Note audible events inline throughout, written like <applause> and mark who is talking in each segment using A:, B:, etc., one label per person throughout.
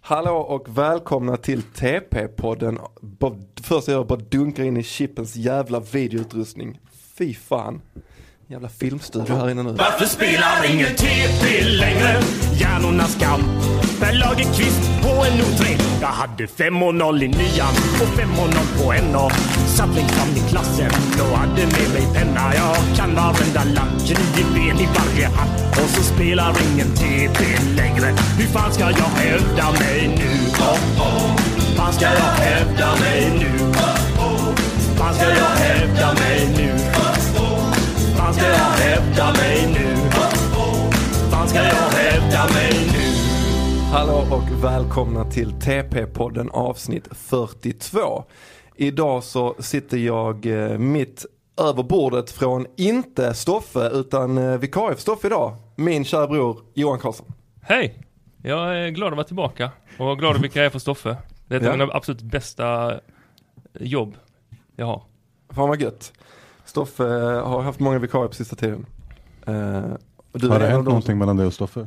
A: Hallå och välkomna till TP-podden. Bara- Först jag bara dunkar in i chippens jävla videoutrustning. Fy fan. Jävla filmstudio här inne nu.
B: Varför spelar ingen TP längre? Hjärnornas kamp. Per Lagerkvist på en O3. Jag hade 5.0 i nian och 5.0 på NA. Satt längst fram i klassen och hade med mig penna. Jag kan varenda lapp, nio ben i varje hatt. Och så spelar ingen TP längre. Hur fan ska jag hävda mig nu? Oh, oh. Fan ska jag hävda mig nu? Oh, oh. Fan ska jag hävda mig nu? Fan ska jag hävda mig nu? Fan ska jag hävda mig nu?
A: Hallå och välkomna till TP-podden avsnitt 42. Idag så sitter jag eh, mitt över bordet från inte Stoffe utan eh, vikarie för Stoffe idag. Min kära bror Johan Karlsson.
C: Hej! Jag är glad att vara tillbaka och glad att vilka jag är för Stoffe. Det är ett
A: Ja.
C: av mina absolut bästa eh, jobb jag har.
A: Fan vad gött. Stoffe eh, har haft många vikarier på sista tiden. Eh, och du
D: Har
A: är
D: det
A: en av dem
D: hänt någonting mellan dig och Stoffe?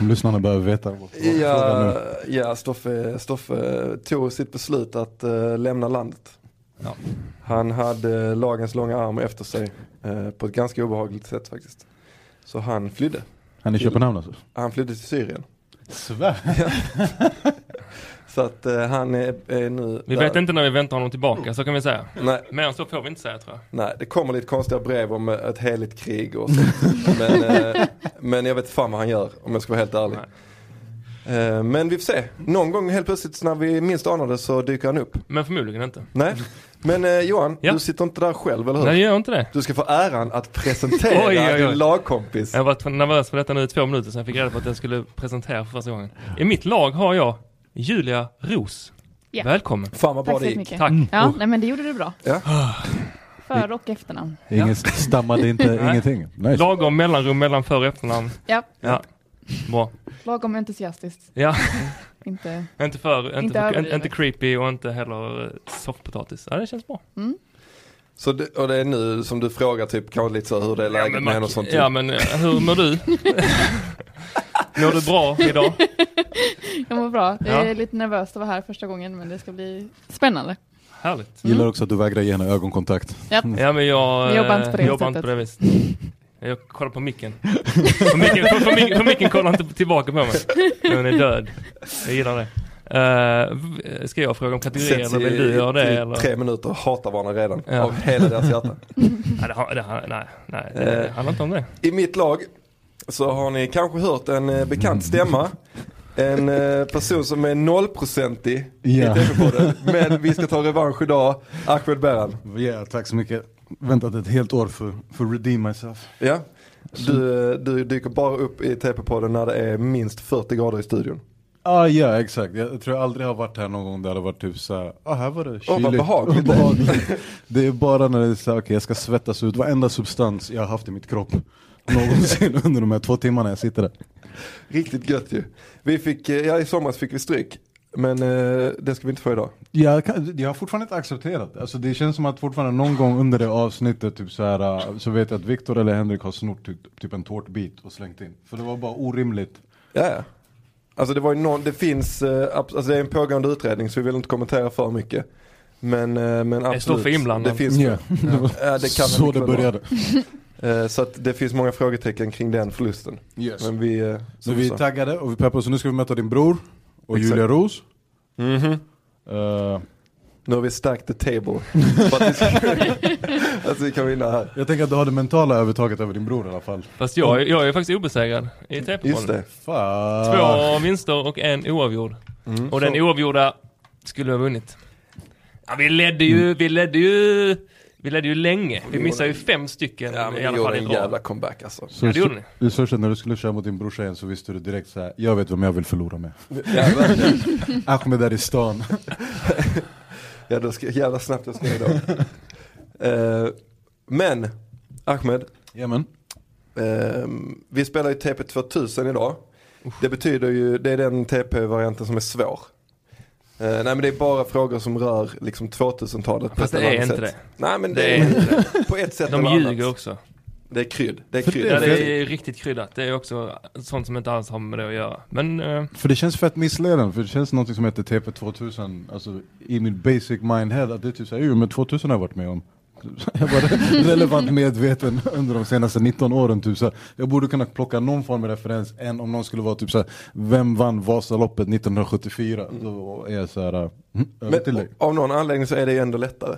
D: Om lyssnarna behöver veta. vad- vad frågan
A: Ja,
D: är.
A: ja Stoffe, Stoffe tog sitt beslut att eh, lämna landet.
C: Ja.
A: Han hade lagens långa arm efter sig eh, på ett ganska obehagligt sätt faktiskt. Så han flydde.
D: Han är i Köpenhamn alltså?
A: Han flydde till Syrien.
D: Svär.
A: Så att eh, han är, är nu
C: Vi
A: där.
C: vet inte när vi väntar honom tillbaka, så kan vi säga.
A: Nej,
C: Mer än så får vi inte säga tror jag.
A: nej, det kommer lite konstiga brev om eh, ett heligt krig och sånt. <laughs> men, eh, men jag vet fan vad han gör om jag ska vara helt ärlig.
C: Nej.
A: Eh, men vi får se. Någon gång helt plötsligt när vi minst anar det så dyker han upp.
C: Men förmodligen inte.
A: Nej, men eh, Johan,
C: Ja.
A: du sitter inte där själv eller hur?
C: Nej, jag gör inte det.
A: Du ska få äran att presentera
C: <laughs> Oj, oj, oj.
A: din lagkompis.
C: Jag har varit nervös för detta nu i två minuter sedan jag fick reda på att jag skulle presentera för första gången. I mitt lag har jag Julia Ros.
E: Ja.
C: Välkommen.
A: Fan vad bra
E: Tack så
A: det gick.
E: jättemycket.
C: Tack. Oh.
E: Ja, nej, men det gjorde du bra.
A: Ja.
E: För och efternamn.
D: Ingen stammade inte,
C: Nej.
D: ingenting. Nice.
C: Lagom mellanrum mellan för och efternamn.
E: Ja,
C: Ja. Bra.
E: lagom entusiastiskt.
C: Ja,
E: Inte...
C: inte för, inte,
E: Inte
C: för,
E: överdrivet.
C: inte, inte creepy och inte heller eh, soffpotatis. Ja, det känns bra.
A: Så det, och det är nu som du frågar typ kanske lite så hur det är läget med henne och sånt. typ,
C: Ja men eh, hur mår
A: <laughs>
C: du? mår du bra idag?
E: Jag mår bra. Jag
C: Ja.
E: är lite nervös att vara här första gången, men det ska bli spännande.
C: Härligt.
D: Gillar också att du vägrar ge henne ögonkontakt.
E: Ja.
C: Ja men jag
E: Vi jobbar inte på det
C: eh, jobbar inte
E: sättet.
C: på det viset. Jag kollar på micken. För micken, för, för micken, för micken kollar inte tillbaka på mig. Den är död. Jag gillar det. Eh, v- ska jag fråga om kategorier
A: Sätts
C: eller vill du göra det?
A: i typ
C: Eller?
A: tre minuter och hatar varandra redan
C: Ja.
A: av hela deras hjärta.
C: Nej, det, har- det, har- nej, nej, det
A: Eh.
C: handlar inte om det.
A: I mitt lag så har ni kanske hört en eh, bekant stämma. En eh, person som är nollprocentig
D: Ja.
A: i TV-podden. Men vi ska ta revansch idag. Ahmed Beran.
D: Ja, tack så mycket. Väntat ett helt år för, för redeem myself.
A: Ja. Du, eh, du dyker bara upp i TV-podden när det är minst 40 grader i studion.
D: Ah, ja, exakt. Jag tror jag aldrig har varit här någon gång där det har varit typ såhär, ah, här var det kyligt.
A: behagligt.
D: behagligt. Det är bara när det är såhär, okej jag ska svettas ut varenda substans jag har haft i mitt kropp. Någonsin <laughs> under de här två timmarna jag sitter där.
A: Riktigt gött ju. Vi fick, eh, ja i somras fick vi stryk. Men eh, det ska vi inte få idag.
D: Jag, kan, jag har fortfarande inte accepterat det. Alltså det känns som att fortfarande någon gång under det avsnittet typ så, här, äh, så vet jag att Viktor eller Henrik har snort typ, typ en tårtbit och slängt in. För det var bara orimligt.
A: Ja, ja. Alltså det var ju någon, det finns, eh, abs- alltså det är en pågående utredning så vi vill inte kommentera för mycket. Men, eh, men absolut.
C: Stoffe inblandad?
A: Det finns,
D: det var <laughs>
A: Ja, det kan
D: så
A: väl
D: det
A: vara.
D: började.
A: eh, så att det finns många frågetecken kring den förlusten.
D: Yes.
A: Men vi, eh,
D: Så
A: som
D: vi
A: sa.
D: är taggade och vi peppar så nu ska vi möta din bror och
A: Exakt.
D: Julia Ros.
A: Mhm.
D: Eh,
A: Nu har vi stacked the table.
D: <laughs>
A: För att vi <laughs> ska- att vi kan vinna här.
D: jag tänker att du har det mentala övertaget över din bror i alla fall.
C: Fast jag, jag är faktiskt obesegrad i
A: Just
C: TP-podden.
A: det.
D: Fan.
C: Två vinster och en oavgjord.
A: Mm.
C: Och den oavgjorda skulle vi ha vunnit. Ja, vi ledde ju,
A: Mm.
C: vi ledde ju, vi ledde ju länge. Vi missade ju fem stycken
A: Ja men
C: i
A: vi
C: alla fall
A: gjorde
C: i
A: en
C: ett jävla...
A: jävla comeback alltså.
D: Så,
C: Ja, det gjorde ni.
D: I stort sett när du skulle köra mot din brorsa igen så visste du direkt så här. jag vet vem jag vill förlora med.
A: Ja, verkligen.
D: <laughs> Ahmed där i stan.
A: Ja, då ska, jävla snabbt jag skrev
C: <laughs>
A: då. Eh, men, Ahmed,
D: Jamen.
A: eh, vi spelar ju TP 2000 idag. Det betyder ju, det är den TP-varianten som är svår. Eh, nej men det är bara frågor som rör liksom 2000-talet. på
C: Fast
A: ett
C: det är
A: eller annat
C: inte
A: sätt.
C: det.
A: Nej men det,
C: Det är
A: är inte det. På ett sätt
C: De
A: eller
C: ljuger
A: annat.
C: också.
A: Det är krydd. Det är
D: För
A: krydd.
D: det-
C: Ja, det är riktigt kryddat. Det är också sånt som inte alls har med det att göra. Men eh,
D: För det känns fett missledande, för det känns något som heter TP2000, alltså i min basic mindhead, att det är typ såhär, jo men 2000 har jag varit med om. <laughs> Jag var relevant medveten under de senaste 19 åren, typ så här. jag borde kunna plocka någon form av referens än om någon skulle vara typ såhär, vem vann Vasaloppet 1974? Då är jag såhär, mm, över till dig.
A: Men av någon anledning så är det ju ändå lättare.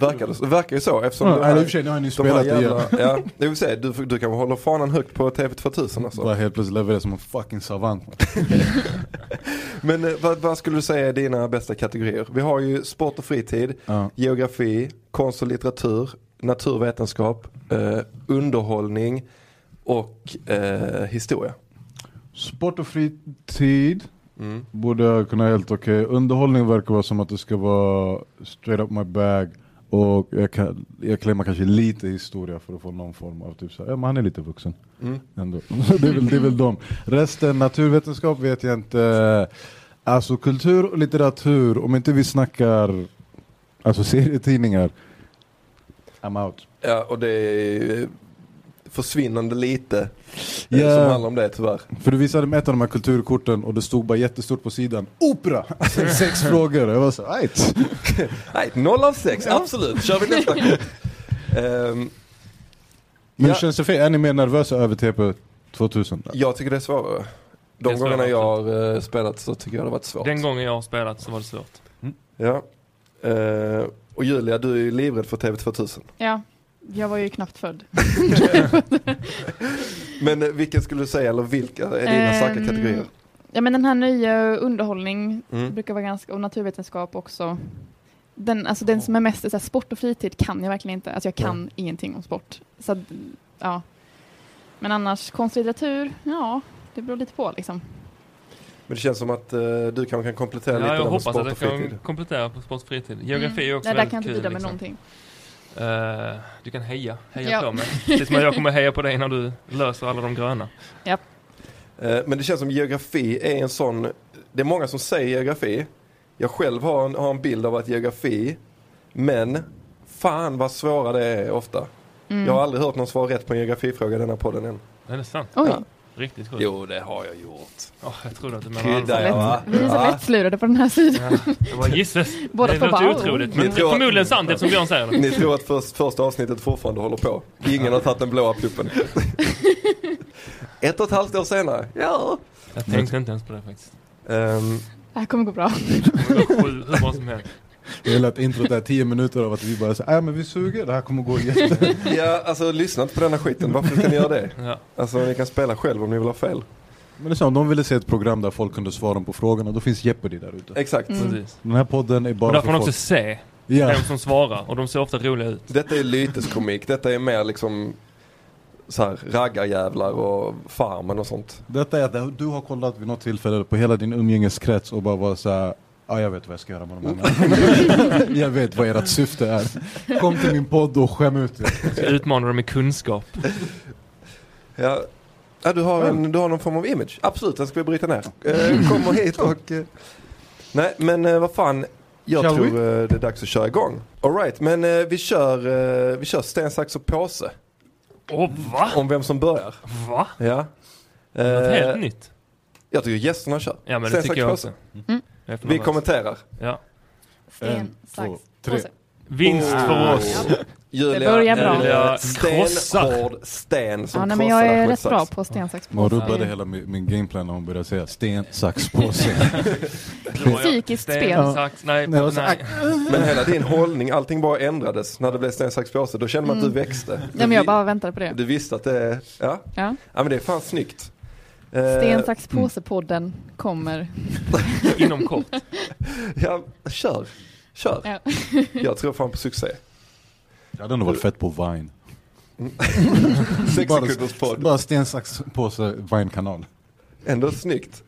A: Verkar det så- verkar ju så eftersom
D: Ja,
A: de
D: eller i och för sig, nu har ni
A: de här
D: spelat det
A: jävla-
D: igen. <laughs>
A: ja, det vill säga, du, du kan hålla fanan högt på TV2000 alltså.
D: Bara helt plötsligt levererar som en fucking savant.
A: Men eh, vad, vad skulle du säga är dina bästa kategorier? Vi har ju sport och fritid,
D: Ja.
A: geografi, konst och litteratur, naturvetenskap, eh, underhållning och eh, historia.
D: Sport och fritid.
A: Mm.
D: Borde jag kunna vara helt okej. Underhållning verkar vara som att det ska vara straight up my bag. Och jag, kan, jag klämmer kanske lite historia för att få någon form av typ såhär, ja men han är lite vuxen. Ändå. <laughs> det, är väl, det är väl dem. Resten, naturvetenskap vet jag inte. Alltså kultur och litteratur, om inte vi snackar alltså serietidningar. I'm out.
A: Ja, och det är eh, försvinnande lite eh,
D: Ja.
A: som handlar om det tyvärr.
D: För du visade mig ett av de här kulturkorten och det stod bara jättestort på sidan, opera! Alltså, sex frågor. Jag var så right.
A: Nej, noll av sex, absolut. Kör vi <laughs> nästa kort. Ehm,
D: Men
A: Ja.
D: känns det fel? Är ni mer nervösa över TP 2000?
A: jag tycker det är svårare.
C: Det
A: De
C: är svårare,
A: gångerna jag har eh, spelat så tycker jag det har varit svårt.
C: den gången jag har spelat så var det svårt.
A: Ja. Eh, och Julia, du är ju livrädd för TV2000.
E: Ja, jag var ju knappt född.
A: Men eh, vilken skulle du säga, eller vilka är dina
E: Ehm,
A: starka kategorier?
E: Ja men den här nya underhållning
A: Mm.
E: brukar vara ganska, och naturvetenskap också. Den, alltså den som är mest så här, sport och fritid kan jag verkligen inte. Alltså jag kan ingenting om sport. Så att, ja. Men annars konst och litteratur, ja, det beror lite på liksom.
A: Men det känns som att eh, du kanske kan komplettera
C: Ja,
A: lite
C: jag
A: där med
C: hoppas
A: sport
C: att jag
A: och fritid.
C: kan komplettera på sport och fritid. Geografi är
E: Mm.
C: också
E: Nej, där
C: väldigt
E: kan jag inte
C: kul.
E: bidra med
C: liksom.
E: någonting.
C: Eh, du kan heja, heja
E: Ja. <laughs>
C: på mig. Precis som jag kommer heja på dig när du löser alla de gröna.
A: Eh, men det känns som geografi är en sån, det är många som säger geografi. Jag själv har en, har en bild av att geografi, men fan vad svåra det är ofta.
E: Mm.
A: Jag har aldrig hört någon svara rätt på en geografifråga i denna podden än.
C: Är det sant?
E: Oj,
A: Ja.
C: Riktigt sjukt.
A: Mm. Jo, det har jag gjort.
C: Åh, jag trodde att du menade
A: Kryddar
C: allvar.
A: jag va?
E: Lätt. vi är så
A: Ja.
E: lättlurade på den här sidan.
C: Ja, det var gissas.
E: <laughs> Båda
C: det
E: två
C: låter
E: bara,
C: otroligt.
E: oh.
C: Men
A: Ni
C: det är
A: tror att-
C: förmodligen sant efsom Björn säger det.
A: Ni tror att först, första avsnittet fortfarande håller på. Ingen har tagit den blåa pluppen. Ett och ett halvt år senare. Ja.
C: Jag tänkte inte ens på det faktiskt.
A: Ehm,
E: Det här kommer gå bra.
C: Det går sju- hur bra som helst.
D: Jag gillar att introt där, 10 minuter av att vi bara säger, äh, men vi suger, det här kommer gå jätte...
A: ja, alltså lyssna inte på denna skiten. Varför ska ni göra det?
C: Ja.
A: Alltså ni kan spela själv om ni vill ha fel.
D: Men det är så, om de ville se ett program där folk kunde svara på frågorna, då finns Jeopardy där ute.
A: Exakt.
C: Precis.
D: Den här podden är
C: Och
D: bara
C: där
D: för
C: får man
D: folk.
C: också se
D: Ja.
C: vem som svarar och de ser ofta roliga ut.
A: Detta är lyteskomik. Detta är mer liksom så här raggarjävlar och farmen och sånt.
D: Detta är att du har kollat vid något tillfälle på hela din umgängeskrets och bara var såhär, ja jag vet vad jag ska göra med de här Jag vet vad ert syfte är. Kom till min podd och skäm ut er.
C: Jag utmanar dem med kunskap.
A: Ja. Ja, du, har en, du har någon form av image. Absolut, den ska vi bryta
C: <laughs>
A: ner.
C: Mm.
A: Eh, Kommer hit och... eh, Nej, men eh, vad fan. Jag
D: Shall
A: tror eh, det är dags att köra igång. Alright, men eh, vi kör, eh, vi kör sten, sax och påse.
C: Åh va?
A: Om vem som börjar.
C: Va?
A: Ja.
C: Något
A: Eh,
C: helt nytt?
A: jag tycker gästerna kör.
C: Ja men det
A: sten,
C: tycker
A: sax,
C: jag
A: påse.
C: också.
E: Mm.
C: Jag är för
A: Vi
C: nervös.
A: kommenterar.
C: Ja.
D: En,
E: En,
D: två,
E: sax,
D: tre.
E: påse.
C: Vinst för
A: Oh.
C: oss.
A: <laughs> Julia,
E: Det börjar bra.
A: Julia
C: Julia
A: stenhård
C: krossar.
A: sten som
E: Ja, nej, men
A: krossar
E: jag är
A: Ahmed
E: rätt
A: Sachs.
E: bra på sten, sax,
D: Hon
E: påse.
D: rubbade
E: Det är
D: hela min, min gameplan när hon började säga sten, sax, påse.
E: Psykiskt
C: Sten,
E: spel.
C: Sax, nej,
D: Nej,
C: nej.
D: och så-
C: nej.
A: Men hela din hållning, allting bara ändrades när det blev sten, sax, påse. Då kände man att du växte.
E: Nej, Mm. men jag bara väntade på
A: Du-
E: det.
A: Du visste att det, ja.
E: Ja.
A: ja men det är fan snyggt. Eh,
E: Sten, sax,
C: mm.
E: påse-podden kommer.
C: Inom kort.
A: Ja, kör. Kör.
E: Ja.
A: <laughs> Jag tror fan på succé.
D: Jag hade nog varit fett på Vine.
A: Mm. <laughs> Sex
D: Bara-
A: sekunders podd.
D: Bara sten, sax, påse, Vine-kanal.
A: Ändå snyggt.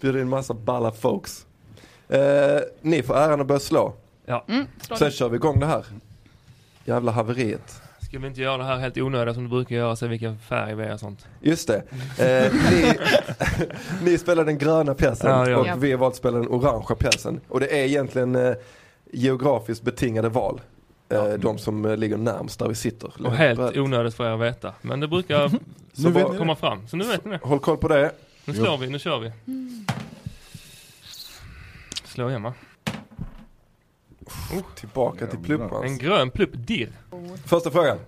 A: Bjuder in massa balla folks. Eh, ni får äran att börja slå.
C: Ja.
E: Mm, slå
A: Sen
E: det.
A: kör vi igång det här. Jävla haveriet.
C: Ska vi inte göra det här helt onödigt som du brukar göra, se vilken färg vi är och sånt.
A: Just det.
E: <laughs>
A: Eh, ni, <laughs> ni spelar den gröna pjäsen
C: Ja, ja.
A: och
E: Ja.
A: vi har valt att spela den orangea pjäsen. Och det är egentligen eh, geografiskt betingade val. eh, de som eh, ligger närmst där vi sitter.
C: Och helt onödigt för er att veta. Men det brukar
A: Så
D: vet
A: bara,
D: ni
C: komma fram. Så nu vet ni det.
A: Håll koll på det.
C: Nu
D: Jo.
C: slår vi, nu kör vi. Mm. Slå igen va?
A: Tillbaka till
C: En
A: pluppans.
C: grön plupp dirr.
A: Första frågan.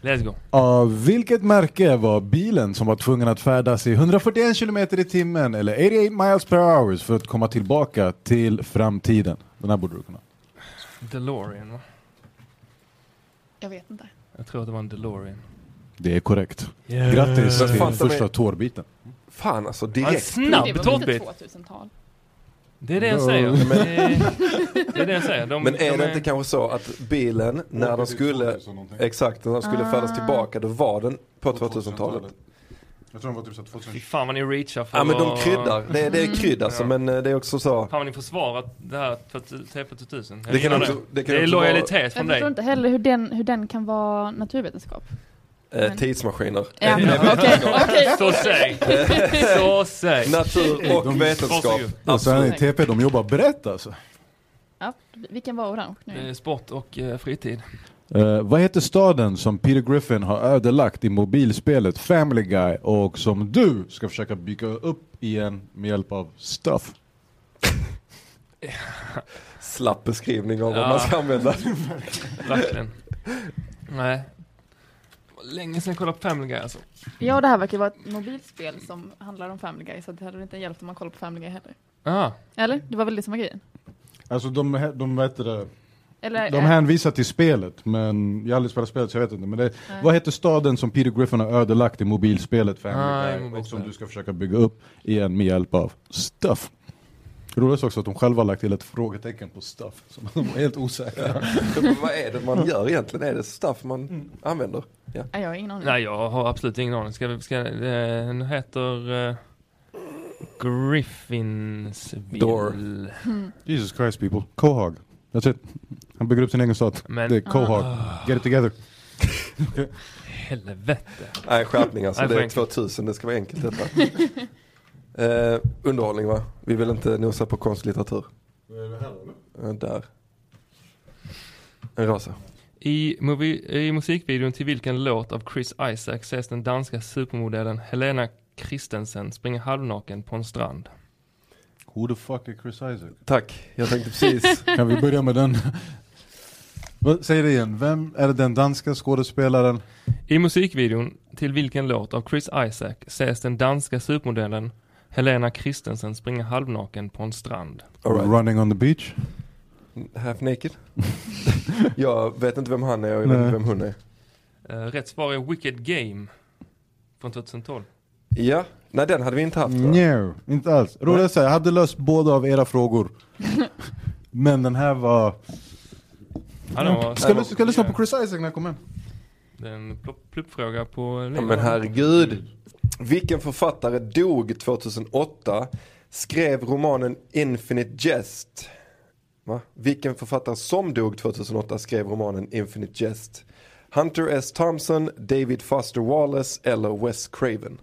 C: Let's go.
D: Av vilket märke var bilen som var tvungen att färdas i 141 km i timmen eller 88 miles per hour för att komma tillbaka till framtiden? Den här borde du kunna.
C: DeLorean va?
E: Jag vet inte.
C: Jag tror att det var en DeLorean.
D: Det är korrekt. Grattis
A: Men fan,
D: till
A: som är-
D: första tårbiten.
A: Fan alltså,
C: Ja, en
A: direkt.
E: det
C: snabb
E: var väl
C: tårtbit.
E: inte 2000-tal?
C: Det är det jag
D: Ja,
C: säger.
A: Mm. men-
C: Det är- Det är det jag säger. De,
A: Men
C: de
A: är det inte kanske så att bilen, när den skulle, exakt, när den skulle
C: Ah.
A: färdas tillbaka, då var den på 2000-talet?
D: Jag tror den var typ
C: Fy
D: 2000.
C: fan vad ni reachar för
A: Ja men de
C: att-
A: kryddar, det, är- det är krydd alltså,
C: Ah. Ja.
A: men eh, det är också så.
C: Fan vad ni försvarar det här för TP2000. Jag
A: Det kan
C: gillar
A: också, det
C: det.
A: kan
C: det är
A: också vara
C: lojalitet
E: Jag
C: från
E: förstår
C: dig.
E: inte heller hur den, hur den kan vara naturvetenskap.
A: eh, tidsmaskiner.
E: Ja,
A: Det är
C: <laughs>
E: okej,
A: vetenskap.
E: okej.
A: <laughs>
C: Så säg. Så säg.
A: Eh, Natur och vetenskap.
C: Varsågod.
D: Alltså, här i
E: Absolut.
D: TP, de jobbar brett alltså.
E: Ja, vilken var orange
C: Det
E: nu?
C: är Sport och eh, fritid.
D: Eh, vad heter staden som Peter Griffin har ödelagt i mobilspelet Family Guy och som du ska försöka bygga upp igen med hjälp av stuff?
A: Slapp beskrivning av vad
C: Ja.
A: man ska använda. <laughs>
C: Verkligen. Nej. Det var Länge sedan jag kollade på Family Guy alltså.
E: Ja, det här verkar vara ett mobilspel som handlar om Family Guy, så det hade väl inte hjälpt om man kollar på Family Guy heller.
C: Ah,
E: Eller? Det var väl det som var grejen?
D: Alltså de, hä- de, vet det,
E: Eller,
D: de hänvisar till spelet men jag har aldrig spelat spelet så jag vet inte. Men det, vad heter staden som Peter Griffin har ödelagt i mobilspelet Family
C: Ah, i
D: Guy och som
C: mobilspelet.
D: du ska försöka bygga upp igen med hjälp av stuff? Roligt också att de själva har lagt till ett frågetecken på stuff som de var helt osäkra.
A: Men vad är det man gör egentligen? Är det stuff man använder? Ja.
E: Nej, jag har ingen aning.
C: nej, jag har absolut ingen aning. Ska, vi- ska, den heter eh, Griffinsville.
A: Door.
D: Jesus Christ people. Cohog. That's it. Han bygger upp sin egen stat.
C: Men- Ah.
D: det är Cohog. Get it together.
C: Helvete.
A: Nej skärpning alltså,
C: Nej,
A: det
C: för
A: är
C: enkelt.
A: 2000, det ska vara enkelt detta. Eh, underhållning va? Vi vill inte nosa på konstlitteratur. Eh, där. En rasa.
C: I, movi- I musikvideon till vilken låt av Chris Isaac ses den danska supermodellen Helena Christensen springa halvnaken på en strand?
D: Who the fuck är Chris Isaac?
A: Tack, jag tänkte precis.
D: <laughs> Kan vi börja med den? Vad- Säg det igen. Vem är den danska skådespelaren?
C: I musikvideon till vilken låt av Chris Isaac ses den danska supermodellen Helena Christensen springa halvnaken på en strand?
A: All right.
D: Running on the beach?
A: Half naked. jag vet inte vem han är och jag vet
D: Nej.
A: inte vem hon är.
C: Eh, rätt svar är Wicked Game från 2012.
A: Ja, nej den hade vi inte haft va?
D: No, inte alls. Roligt att säga, jag hade löst båda av era <laughs> frågor. Men den här var...
C: Ja, den var-
D: Ska, du- ska jag lyssna på Chris Isaac när jag kommer hem.
C: Det är en plopp- pluppfråga på
A: Ja,
C: livet.
A: men herregud. Vilken författare dog 2008? Skrev romanen Infinite Jest. Va? Vilken författare som dog 2008 skrev romanen Infinite Jest? Hunter S. Thompson, David Foster Wallace eller Wes Craven?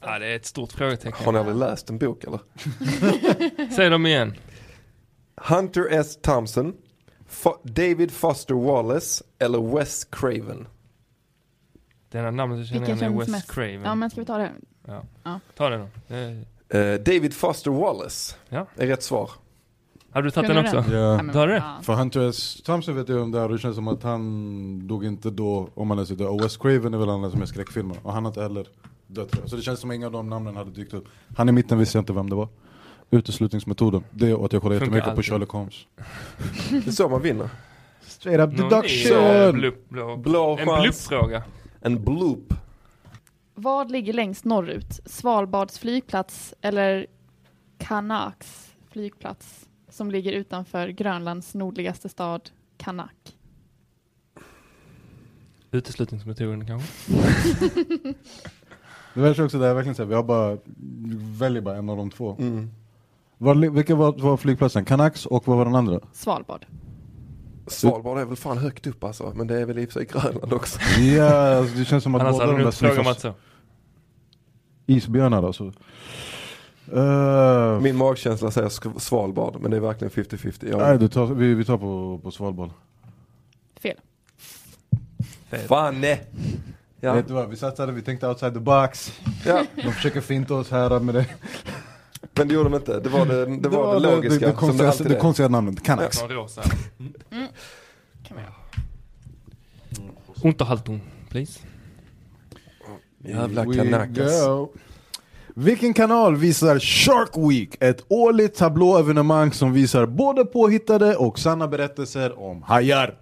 C: Ja, det är ett stort
A: Har
C: frågetecken.
A: ni aldrig läst en bok eller?
C: Säg dem igen.
A: Hunter S. Thompson, Fo- David Foster Wallace eller Wes Craven?
C: Det här namnet jag känner
E: Vilken
C: igen är
E: känns
C: Wes
E: mest?
C: Craven.
E: Ja, men ska vi ta det?
C: Ja.
E: Ja.
C: Ta det då. Det är-
A: Eh, David Foster Wallace
C: Ja.
A: är rätt svar.
C: Hade du tagit den
E: Kunde
C: också?
E: du
D: Ja.
E: men,
C: Tar du det?
E: ja.
D: För Hunter S. Thompson vet jag om det här och det känns som att han dog inte då om han ens är död. Och Wes Craven är väl han som är skräckfilmer och han har inte heller dött tror jag. Så det känns som att inga av de namnen hade dykt upp. Han i mitten visste jag inte vem det var. Uteslutningsmetoden, det och att jag kollade
C: Funkar
D: jättemycket på
C: alltid.
D: Sherlock Holmes.
A: Det är så man vinner.
D: Straight up
C: Någon ny, eh,
D: deduction!
C: blupp- blå-
A: Blå
C: En
A: chans.
C: bluffråga.
A: En bloop.
E: Vad ligger längst norrut? Svalbards flygplats eller Kanaks flygplats som ligger utanför Grönlands nordligaste stad Kanak?
C: Uteslutningsmetoden kanske?
D: Det värsta är också det här verkligen såhär, vi har bara, väljer bara en av de två. Var, li- vilka var, var flygplatsen? Canucks och vad var den andra?
E: Svalbard.
A: Svalbard är väl fan högt upp alltså, men det är väl i och för sig Grönland också.
D: Ja, alltså, det känns som att
C: Annars
D: båda
C: hade
D: de
C: du
D: där
C: inte frågat
D: sniffas
C: Mats så.
D: isbjörnar alltså. Eh,
A: Min magkänsla säger Sk- Svalbard, men det är verkligen 50-50. Jag,
D: Nej, du tar, vi, vi tar på, på Svalbard.
E: Fel.
A: Fan nej. Ja.
D: Vet du vad, vi satsade, vi tänkte outside the box.
A: ja,
D: De försöker finta oss här med det.
A: men det gjorde de inte. Det var det, det, var det, logiska.
D: det,
A: som
D: det,
A: det
D: konstiga,
A: alltid
D: det
A: är.
D: konstiga namnet, Canucks.
C: Någon rosa.
E: Mm. Kan man göra.
C: Unterhaltung, please.
A: Jävla
D: We
A: kanakas.
D: go. Vilken kanal visar Shark Week? Ett årligt tablåevenemang som visar både påhittade och sanna berättelser om hajar.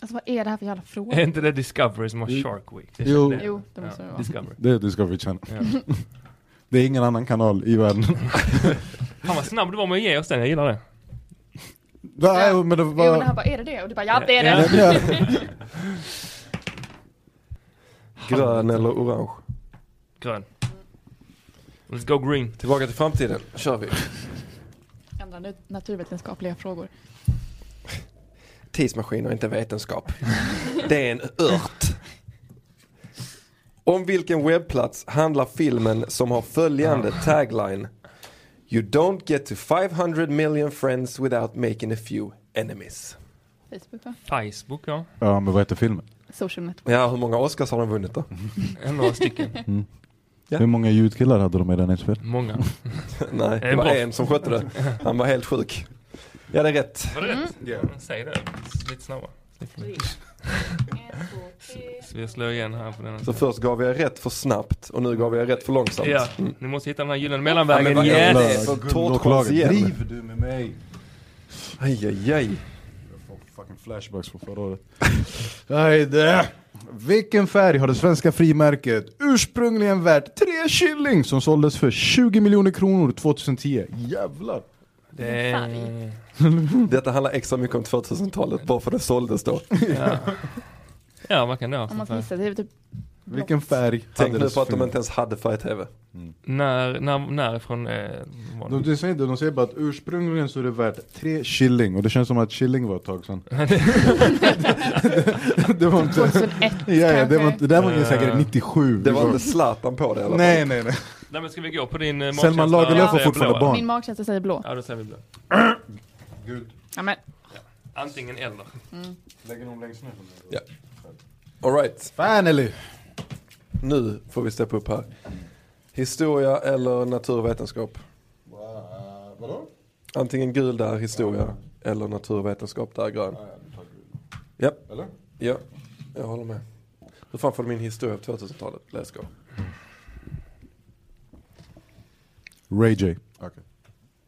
E: Alltså vad är det här för jävla fråga?
C: Är inte det Discovery som har Shark Week? Det
D: Jo.
C: känns
E: Jo, det måste det vara.
C: Discovery.
D: Det är Discovery Channel.
C: Ja.
D: <laughs> Det är ingen annan kanal i världen.
C: Fan vad snabb du var med att ge oss den, jag gillar det.
D: Nej, men det
E: Jo, det här
D: var...
E: bara, är det det? Och du bara, ja det är
C: Ja.
E: det.
D: Ja.
A: Grön eller orange.
C: Grön. Let's go green.
A: Tillbaka till framtiden, kör vi.
E: Andra nu- naturvetenskapliga frågor.
A: Tidsmaskiner är inte vetenskap. Det är en ört. Om vilken webbplats handlar filmen som har följande tagline? You don't get to 500 million friends without making a few enemies.
E: Facebook va?
C: Facebook ja.
D: ja, men vad heter filmen?
E: Social network.
A: Ja, hur många Oscars har de vunnit då?
C: Några stycken.
A: Ja.
D: Hur många ljudkillar hade de i den inspelningen?
C: Många.
A: Nej, det
C: En
A: var
C: proff.
A: en som skötte det. Han var helt sjuk. Ja, det är rätt.
C: Var det rätt?
E: Mm.
C: Säg det. Lite snabbare. Så <laughs> vi slår igen här på den.
A: Så först gav jag rätt för snabbt och nu gav jag rätt för långsamt.
C: Ja, ni måste hitta den här gyllene
A: Ja, men
C: mellanvägen.
A: vad är det?
C: yes!
A: för
D: Guldåklagare.
A: tårtchans igen.
D: Driver du med mig?
A: Aj, aj, aj.
D: Jag får fucking flashbacks från förra <laughs> året. Ajde. Vilken färg har det svenska frimärket ursprungligen värt tre shilling som såldes för 20 miljoner kronor 2010? Jävlar!
C: Det är...
A: Detta handlar extra mycket om 2000-talet, bara för det såldes då.
C: Ja, vad kan det ha
E: Om man
C: för
E: ska
C: färg?
E: gissa, det är typ
D: Vilken färg
A: Tänk
D: hade
A: nu
D: det
A: på att de
D: svenska-
A: inte ens hade färg-tv.
C: När, när, närifrån eh, var
D: de,
C: det?
D: de säger inte, de säger bara att ursprungligen så är det värt tre shilling och det känns som att shilling var ett tag <laughs> sedan. det var inte...
E: 2001
D: <laughs> Ja, ja, det var
E: kanske.
D: inte, det här var ju säkert
C: Eh,
D: 97.
A: Det var inte Zlatan på det i alla fall.
D: Nej, nej, nej.
C: Nej men ska vi gå på din eh, magkänsla?
D: Selma Lagerlöf har
C: Säger
D: fortfarande
C: blå, eller?
D: barn.
E: Min magkänsla säger blå.
C: Ja, då säger vi blå.
E: Ja, men,
C: Antingen eller.
D: Lägger hon längst ner?
A: Ja. All right,
D: Fan eller?
A: nu får vi steppa upp här. Historia eller naturvetenskap?
D: eh, Vadå?
A: Antingen gul där, historia, eller naturvetenskap där, grön. Ja,
D: Eller?
A: ja, jag håller med. Hur fan får du min historia på 2000-talet? Let's go.
D: Ray J.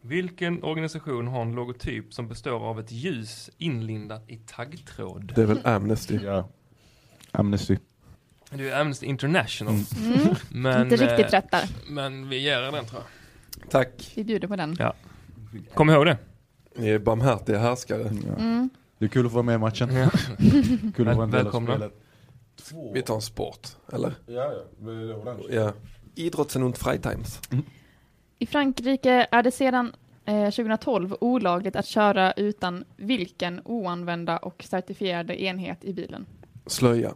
C: Vilken organisation har en logotyp som består av ett ljus inlindat i taggtråd?
A: Det är väl Amnesty?
D: Ja. Amnesty.
C: Det är ju Amnesty International. Men,
E: Mm. inte
C: eh,
E: riktigt rätt där.
C: Men vi ger er den tror jag.
A: Tack,
E: Vi bjuder på den.
C: Kom ihåg det.
A: ni är barmhärtiga härskare.
D: Det är kul att få vara med i matchen. <laughs> Kul att vara en del av
C: Välkomna.
D: spelet.
A: Vi tar en sport, eller?
D: Ja, ja.
A: Ja. Idrotten und Freitimes.
E: I Frankrike är det sedan eh, 2012 olagligt att köra utan vilken oanvända och certifierade enhet i bilen.
A: Slöja.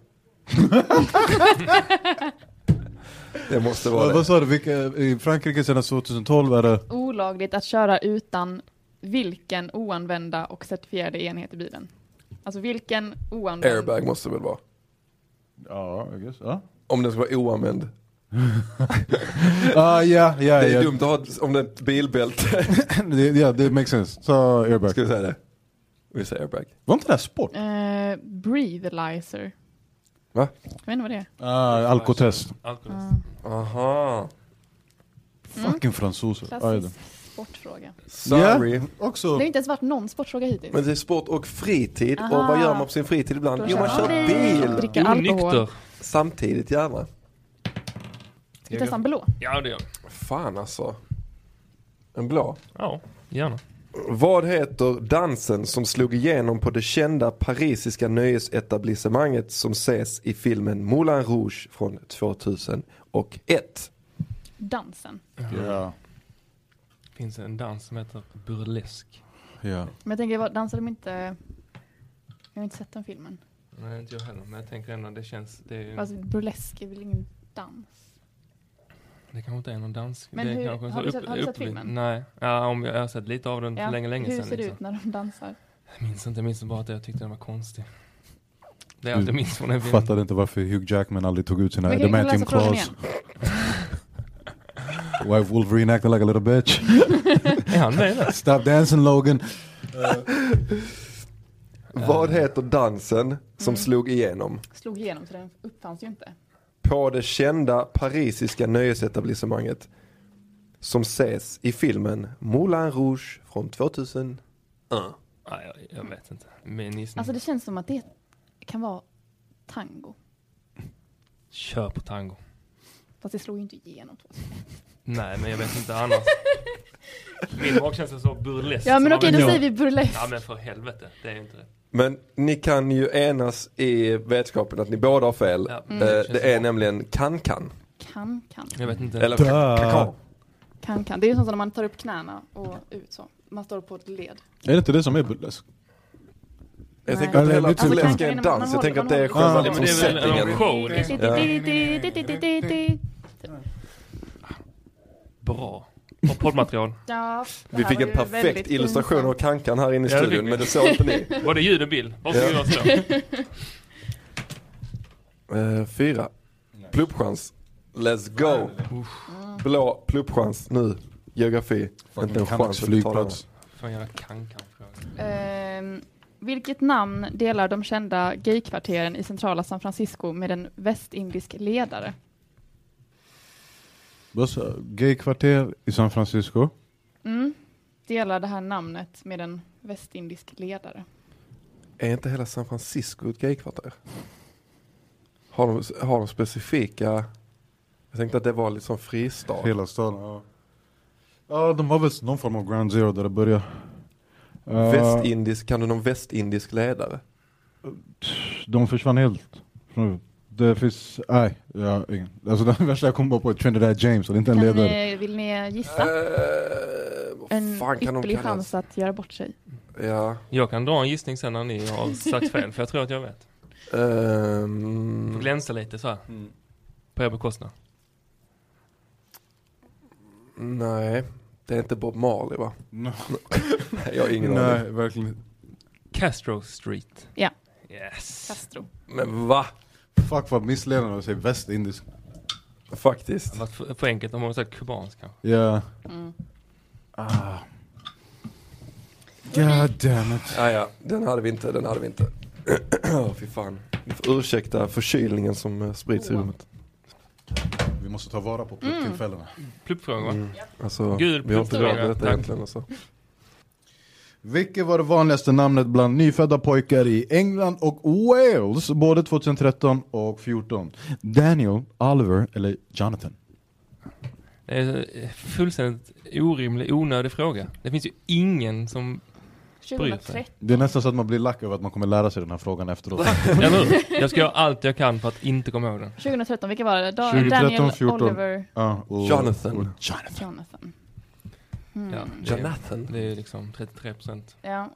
A: det måste vara
D: Vad, vad
A: det.
D: sa du, vilka, i Frankrike sedan 2012 är det...
E: Olagligt att köra utan vilken oanvända och certifierade enhet i bilen. Alltså vilken oanvänd...
A: Airbag måste det väl vara.
D: Ja, I guess. Ja,
A: Om den ska vara oanvänd.
D: ah, ja, ja.
A: Det är
D: ja.
A: dumt att ha ett- om det är ett bilbälte.
D: <laughs>
A: <laughs>
D: Det, ja, det makes sense. Så airbag.
A: ska vi säga det? Vi säger airbag.
D: Var inte det här sport?
E: Eh, breathalizer.
A: Va?
E: Jag vet inte vad det är.
D: Ah, alkotest.
C: Alkohol.
A: Aha.
D: Fucking fransoser. Ah, ja, det.
E: Klassisk sportfråga.
A: Sorry.
D: Också.
E: Det har inte ens varit någon sportfråga hittills.
A: Men det är sport och fritid.
E: Aha.
A: Och vad gör man på sin fritid ibland?
E: Då
A: Jo, man
E: kör
A: kör
E: man
A: bil.
E: Dricker alkohol.
C: Onykter.
A: Samtidigt jävlar.
E: Ska vi testa en blå?
C: Ja det gör jag.
A: Fan alltså. En blå.
C: Ja, gärna.
A: Vad heter dansen som slog igenom på det kända parisiska nöjesetablissemanget som ses i filmen Moulin Rouge från 2001?
E: Dansen.
D: Ja,
C: Finns det en dans som heter burlesk?
D: ja.
E: Men jag tänker, vad- dansar de inte... Jag har inte sett den filmen.
C: Nej inte jag heller men jag tänker ändå det känns. Det, är,
E: Alltså, burlesk är väl ingen dans?
C: det kanske inte är någon dans.
E: Men
C: det är
E: hur-
C: kanske en
E: har
C: så
E: du sett- har du sett filmen?
C: Nej, ja, om jag, jag har sett lite av den för länge länge
E: Hur
C: sedan.
E: ser det
C: liksom.
E: ut när de dansar?
C: Jag minns inte, jag minns bara att jag tyckte den var konstig. Det är allt jag minns från den filmen.
D: Fattade inte varför Hugh Jackman aldrig tog ut sina
E: Men kan- kan du
D: adamantium
E: läsa frågan
D: claws. <laughs> Why Wolverine acting like a little bitch?
C: Är han med där?
D: Stop dancing Logan!
A: Vad heter dansen som slog igenom?
E: Slog igenom så den uppfanns ju
C: Mm.
E: inte.
A: På det kända parisiska nöjesetablissemanget. Som ses i filmen Moulin Rouge från 2000.
C: Nej, jag, jag vet inte. Min gissning.
E: Alltså det känns som att det kan vara tango.
C: Kör på tango.
E: Fast det slog ju inte igenom.
C: Nej, men jag vet inte
E: <laughs>
C: annars. Min magkänsla så burlesk.
E: Ja men
C: som
E: okej,
C: man
E: då
C: vet.
E: säger vi burlesk.
C: Ja men för helvete, det är ju inte det.
A: Men ni kan ju enas i vetskapen att ni båda har fel.
C: Ja,
A: Eh,
C: det känns
A: det är
C: bra.
A: nämligen kan-kan.
E: Kan, kan,
C: Jag vet inte.
A: Eller
D: Duh.
A: kakao.
E: kan, kan. Det är ju sånt som när man tar upp knäna och ut så. Man står på ett led.
D: Är det inte det som är alltså, burlesk?
A: Jag
E: Nej.
A: tänker att hela
D: Alltså,
A: burlesk
E: kan-kan
A: är en
E: innan man
A: dans. Jag
E: håller-
A: tänker att det är
E: man
A: själva
D: håller-
C: Ja, men
A: liksom
C: det är väl en
A: settingen.
C: show liksom. Bra. Och poddmaterial.
E: Ja, det
A: Vi
E: här
A: fick
E: var
A: en
E: ju väldigt
A: perfekt illustration av
E: pinsamt.
A: kan-kan här inne i
C: Ja, det fick
A: studion.
C: vi.
A: Men det såg inte ni.
C: Både ljud och bild. Varsågod
A: Ja.
C: och slå. <laughs>
A: Eh, fyra. Pluppchans. Let's go. Blå pluppchans nu. Geografi. Inte en chans att betala den.
D: flygplats.
C: Fan jävla kankan-fråga.
E: Ehm, vilket namn delar de kända gaykvarteren i centrala San Francisco med en västindisk ledare?
D: Bussa, eh, Gaykvarter i San Francisco.
E: Mm. Delar det här namnet med en västindisk ledare.
A: Är inte hela San Francisco ett gaykvarter? Har de, har de specifika... Jag tänkte att det var liksom fristad.
D: Hela staden, ja. Ja, de har väl någon form av ground zero där det börjar. Eh,
A: Västindisk, kan du någon västindisk ledare?
D: de försvann helt. från- Det finns, nej, jag har ingen. Alltså det värsta jag kom bara på är Trinidad James och det är inte en
E: Kan
D: ledare.
E: ni, vill ni gissa?
A: Eh, vad
E: En
A: Äh, fan kan de
E: ypperlig
A: kallas?
E: chans att göra bort sig.
A: Ja.
C: Jag kan dra en gissning sen när ni har sagt fel, för jag tror att jag vet. Får
A: ehm,
C: glänsa lite så här.
A: Mm.
C: På er bekostnad.
A: nej, det är inte Bob Marley va?
D: Nej,
A: Nej, jag har ingen aning.
D: nej, verkligen inte.
C: Castro Street.
E: Ja.
C: Yes.
E: Castro.
A: Men va?
D: Fuck vad missledande att säga västindisk.
A: Faktiskt.
C: Det var för, för enkelt om man sagt kubansk kanske.
D: Ja.
E: Mm.
D: Ah. God damn it.
A: Ah, ja, den hade vi inte, den hade vi inte. <clears throat> Åh, Fy fan. Ni får ursäkta förkylningen som eh, sprids i
E: Oh.
A: rummet.
D: Vi måste ta vara på plupptillfällena.
C: Pluppfråga va?
A: Mm. Alltså,
C: Gud,
A: vi har inte råd
C: pluttstora.
A: med detta
C: Tack.
A: egentligen. Alltså.
D: Vilket var det vanligaste namnet bland nyfödda pojkar i England och Wales både 2013 och 2014? Daniel, Oliver eller Jonathan?
C: Det är en fullständigt orimlig, onödig fråga. Det finns ju ingen som... Bryr sig.
E: 2013.
D: Det är nästan så att man blir lack över att man kommer lära sig den här frågan efteråt.
C: Eller hur? Jag ska göra allt jag kan för att inte komma ihåg den.
E: 2013, vilka var det? Da-
D: 2013,
E: Daniel,
D: 14.
E: Oliver,
D: Ja, och-
A: Jonathan.
D: och Jonathan.
E: Jonathan. Hmm. Mm.
C: Ja, det, är,
A: Jonathan.
C: det är liksom 33%.
E: Ja,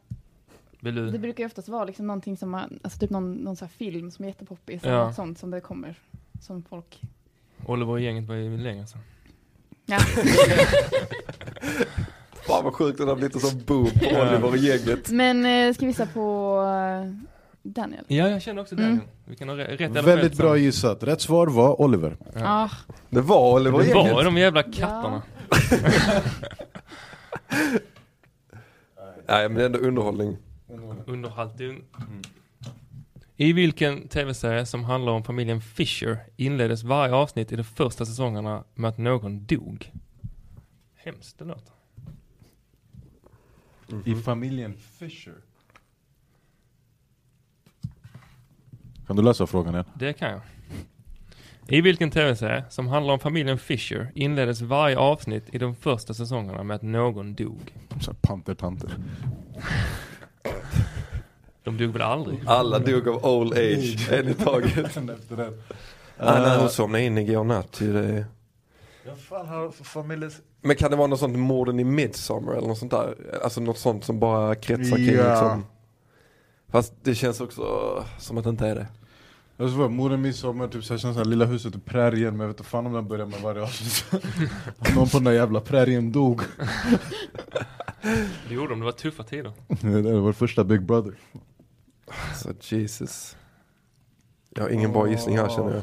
E: det
C: Belu.
E: brukar ju oftast vara liksom någonting som man, alltså typ någon, någon så här film som är jättepoppis,
C: Ja.
E: eller något sånt som det kommer, som folk...
C: Oliver och gänget var ju länge sedan.
E: Ja. <laughs>
A: Fan vad sjukt att det har blivit en sån boom på Oliver och gänget.
E: Men eh, ska vi gissa på eh, Daniel?
C: Ja, jag känner också Daniel.
E: Mm.
C: Vi kan ha re- rätt eller fel
D: Väldigt bra
C: sen.
D: gissat. Rätt svar var Oliver.
C: Ja.
E: Ja.
A: Det var Oliver och
C: Det var ju
A: gänget.
C: de jävla katterna.
A: Nej men det är ändå underhållning.
C: Underhaltig. I vilken tv-serie som handlar om familjen Fisher inleddes varje avsnitt i de första säsongerna med att någon dog? Hemskt det låter.
D: I familjen Fisher. Kan du läsa frågan igen?
C: Det kan jag. I vilken tv-serie som handlar om familjen Fisher inleddes varje avsnitt i de första säsongerna med att någon dog?
D: Så här, Panter, panter.
C: De dog väl aldrig?
A: Alla dog av old age en i taget.
D: Efter det.
A: Anna hon somnade in igår natt. ju, Det är...
D: Jag fan har familjen...
A: Men kan det vara något sånt morden i midsommar eller något sånt där? Alltså något sånt som bara kretsar kring
D: Ja.
A: liksom. Fast det känns också eh, som att det inte är det.
D: Alltså vad, morden midsommar, typ såhär, känns såhär, lilla huset och prärien, men jag vet inte fan om den börjar med varje <laughs> avsnitt Att Någon på den där jävla prärien dog
C: Det gjorde de, det var tuffa tider.
D: Det där var första Big Brother
A: Så Jesus. Jag har ingen bra gissning här känner jag.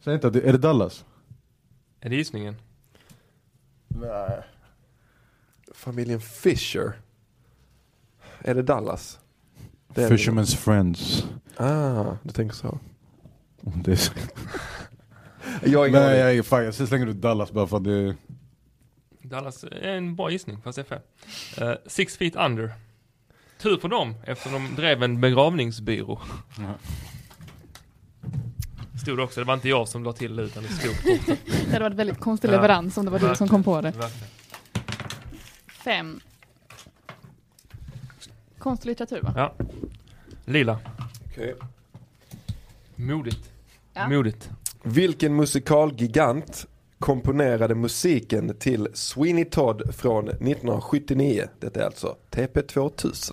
D: Säg inte att det, är det Dallas?
C: Är det gissningen?
D: Nej.
A: Familjen Fisher. Är det Dallas? Det är det.
D: Fisherman's Friends.
A: Ah, du tänker så.
D: Om det är så.
A: Jag har ingen
D: Nej,
A: aning.
D: jag, är- fan, jag slänger ut Dallas bara för att det...
C: Dallas är en bra gissning, fast jag är fel. Eh, six feet under. Tur för dem, eftersom de drev en begravningsbyrå.
D: Ja.
C: Stod det också, det var inte jag som la till det, utan det stod på.
E: Det hade varit väldigt konstig
C: Ja.
E: leverans om <laughs> det var du som
C: Verkligen.
E: kom på det.
C: Verkligen.
E: Fem. Konst och litteratur va?
C: Ja. Lila.
A: Okej.
C: Modigt.
E: Ja.
C: Modigt.
A: Vilken musikalgigant komponerade musiken till Sweeney Todd från 1979? Detta är alltså TP2000.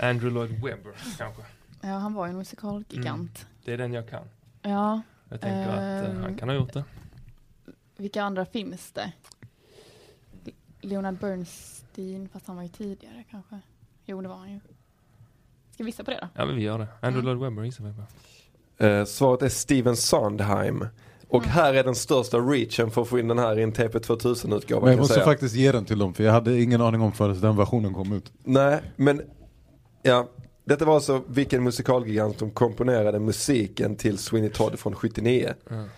C: Andrew Lloyd Webber, kanske.
E: Ja, han var ju en musikalgigant.
C: Det är den jag kan.
E: Ja,
C: Jag tänker att eh,
E: Ehm.
C: han kan ha gjort det.
E: vilka andra finns det? Le- Leonard Bernstein, fast han var ju tidigare kanske. Jo, det var han ju. Ska vi gissa på det då?
C: Ja, men vi gör det. Andrew
E: Mm.
C: Lloyd Webber gissar vi på.
A: Eh, svaret är Steven Sondheim. Och här är den största reachen för att få in den här i en TP2000-utgåva.
D: Men
A: kan
D: jag
A: jag
D: måste
A: säga.
D: faktiskt ge den till dem för jag hade ingen aning om förrän den versionen kom ut.
A: Nej, men ja. Detta var alltså vilken musikalgigant som komponerade musiken till Sweeney Todd från 79.
C: Mm.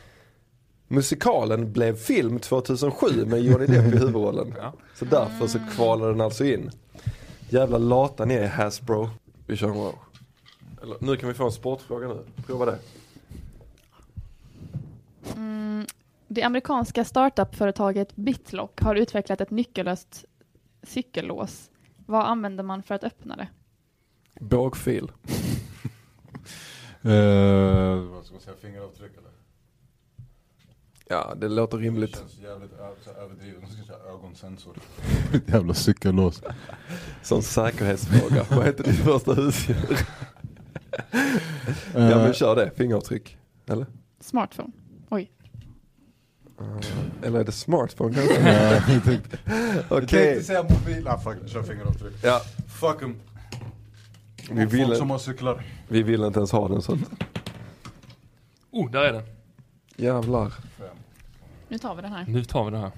A: Musikalen blev film 2007 med Johnny Depp i huvudrollen.
C: <laughs> Ja.
A: Så därför så kvalade den alltså in. Jävla lata ni är Hasbro. Vi kör en wow. Eller, nu kan vi få en sportfråga nu. Prova det.
E: Mm, det amerikanska startup-företaget Bitlock har utvecklat ett nyckellöst cykellås. Vad använder man för att öppna det?
A: Bågfil.
D: Eh, vad ska man säga, fingeravtryck eller?
A: Ja, det låter
D: Det
A: rimligt.
D: känns jävligt ö- så här överdrivet, man ska säga <laughs> ögonsensor. Jävla cykellås.
A: Som
D: <laughs>
A: säkerhetsfråga. Vad heter ditt första husdjur? Ja
D: Eh,
A: men kör det, fingeravtryck. Eller?
E: Smartphone.
A: Eller är det smartphone kanske? <laughs>
D: Eh, <laughs> jag tänkte- jag
A: Okej.
D: tänkte säga mobil, ah, fuck, kör fingeravtryck.
A: Ja,
D: Fuck em.
A: vi
D: Folk
A: ville,
D: som har cyklar.
A: vi ville inte ens ha den så att,
C: Oh, där är den.
A: jävlar.
E: Nu tar vi den <laughs> här.
C: Nu tar vi det här.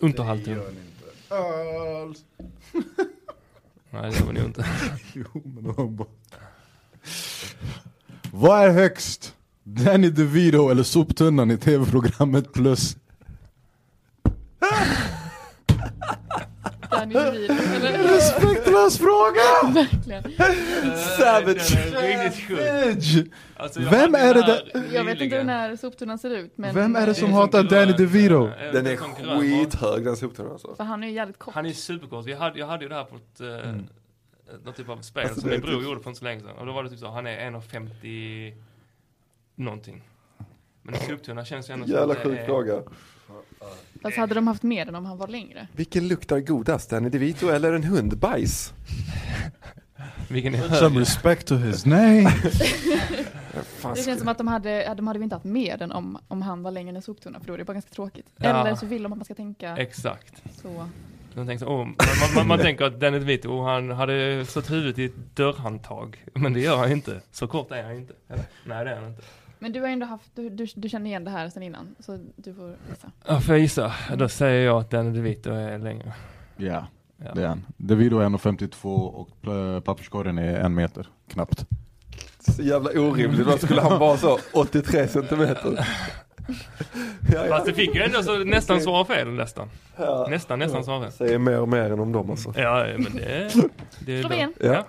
C: Unterhalten.
D: Gör ni inte alls.
C: Nej, det gör vi nog inte.
D: Jo, men det var bara... Vad är högst? Danny DeVito eller soptunnan i tv-programmet plus?
E: Danny DeVito, eller?
D: Respektlös fråga!
E: <laughs> Verkligen.
A: Savage.
C: Den är riktigt sjuk.
D: Edge.
C: Alltså, jag
D: Vem
C: hade
D: är det
C: den här
E: Jag vet inte hur
C: nyligen.
E: den här soptunnan ser ut. Men
D: Vem är det
C: Det är
D: som
C: en
D: hatar
C: sån
D: Danny
C: grön-
D: DeVito?
C: Ja,
A: Den
C: det
A: är
C: en sån grön mat.
A: skithög den soptunnan alltså.
E: För han är ju jävligt kort.
C: Han är superkort. Vi hade, jag hade ju det här på ett, eh, något typ av spel
A: Alltså,
C: som
A: det
C: min
A: är
C: bror
A: typ-
C: gjorde för inte så länge sedan. Och då var det typ så, han är 1,50 någonting. Men en soptunna känns ju ändå som
A: Jävla
C: att det
A: sjuk
C: är-
A: fråga.
E: Fast Alltså, hade de haft med den om han var längre?
A: Vilken luktar godast, Danny DeVito eller en hundbajs?
C: Vilken är
D: Some
C: högre?
D: respect to his name.
A: Fan,
E: Det känns som att de hade, de hade väl inte haft med den om, om han var längre än soptunnan, för då är det bara ganska tråkigt.
C: Ja.
E: Eller så vill de att man ska tänka
C: Exakt.
E: så.
C: Man tänker, så, oh, man, man, man, man tänker att Danny DeVito, oh, han hade slått huvudet i ett dörrhandtag. Men det gör han ju inte. Så kort är han ju inte. Eller? Nej, det är han inte.
E: Men du har ändå haft, du, du, du känner igen det här sedan innan, så du får gissa.
C: Ja, får jag gissa? Då säger jag att Danny DeVito är längre.
D: Ja,
C: Ja.
D: det är han. DeVito är 1,52 och eh, papperskorgen är en meter, knappt.
A: så jävla orimligt. Varför skulle han vara så 83 centimeter? Ja, ja.
C: Fast det fick ju ändå så nästan svara fel nästan.
A: Ja.
C: Nästan, nästan svara fel.
A: Säger mer och mer än om dem alltså.
C: Ja, men det... det är
E: Slå
C: bra.
E: igen.
C: Ja.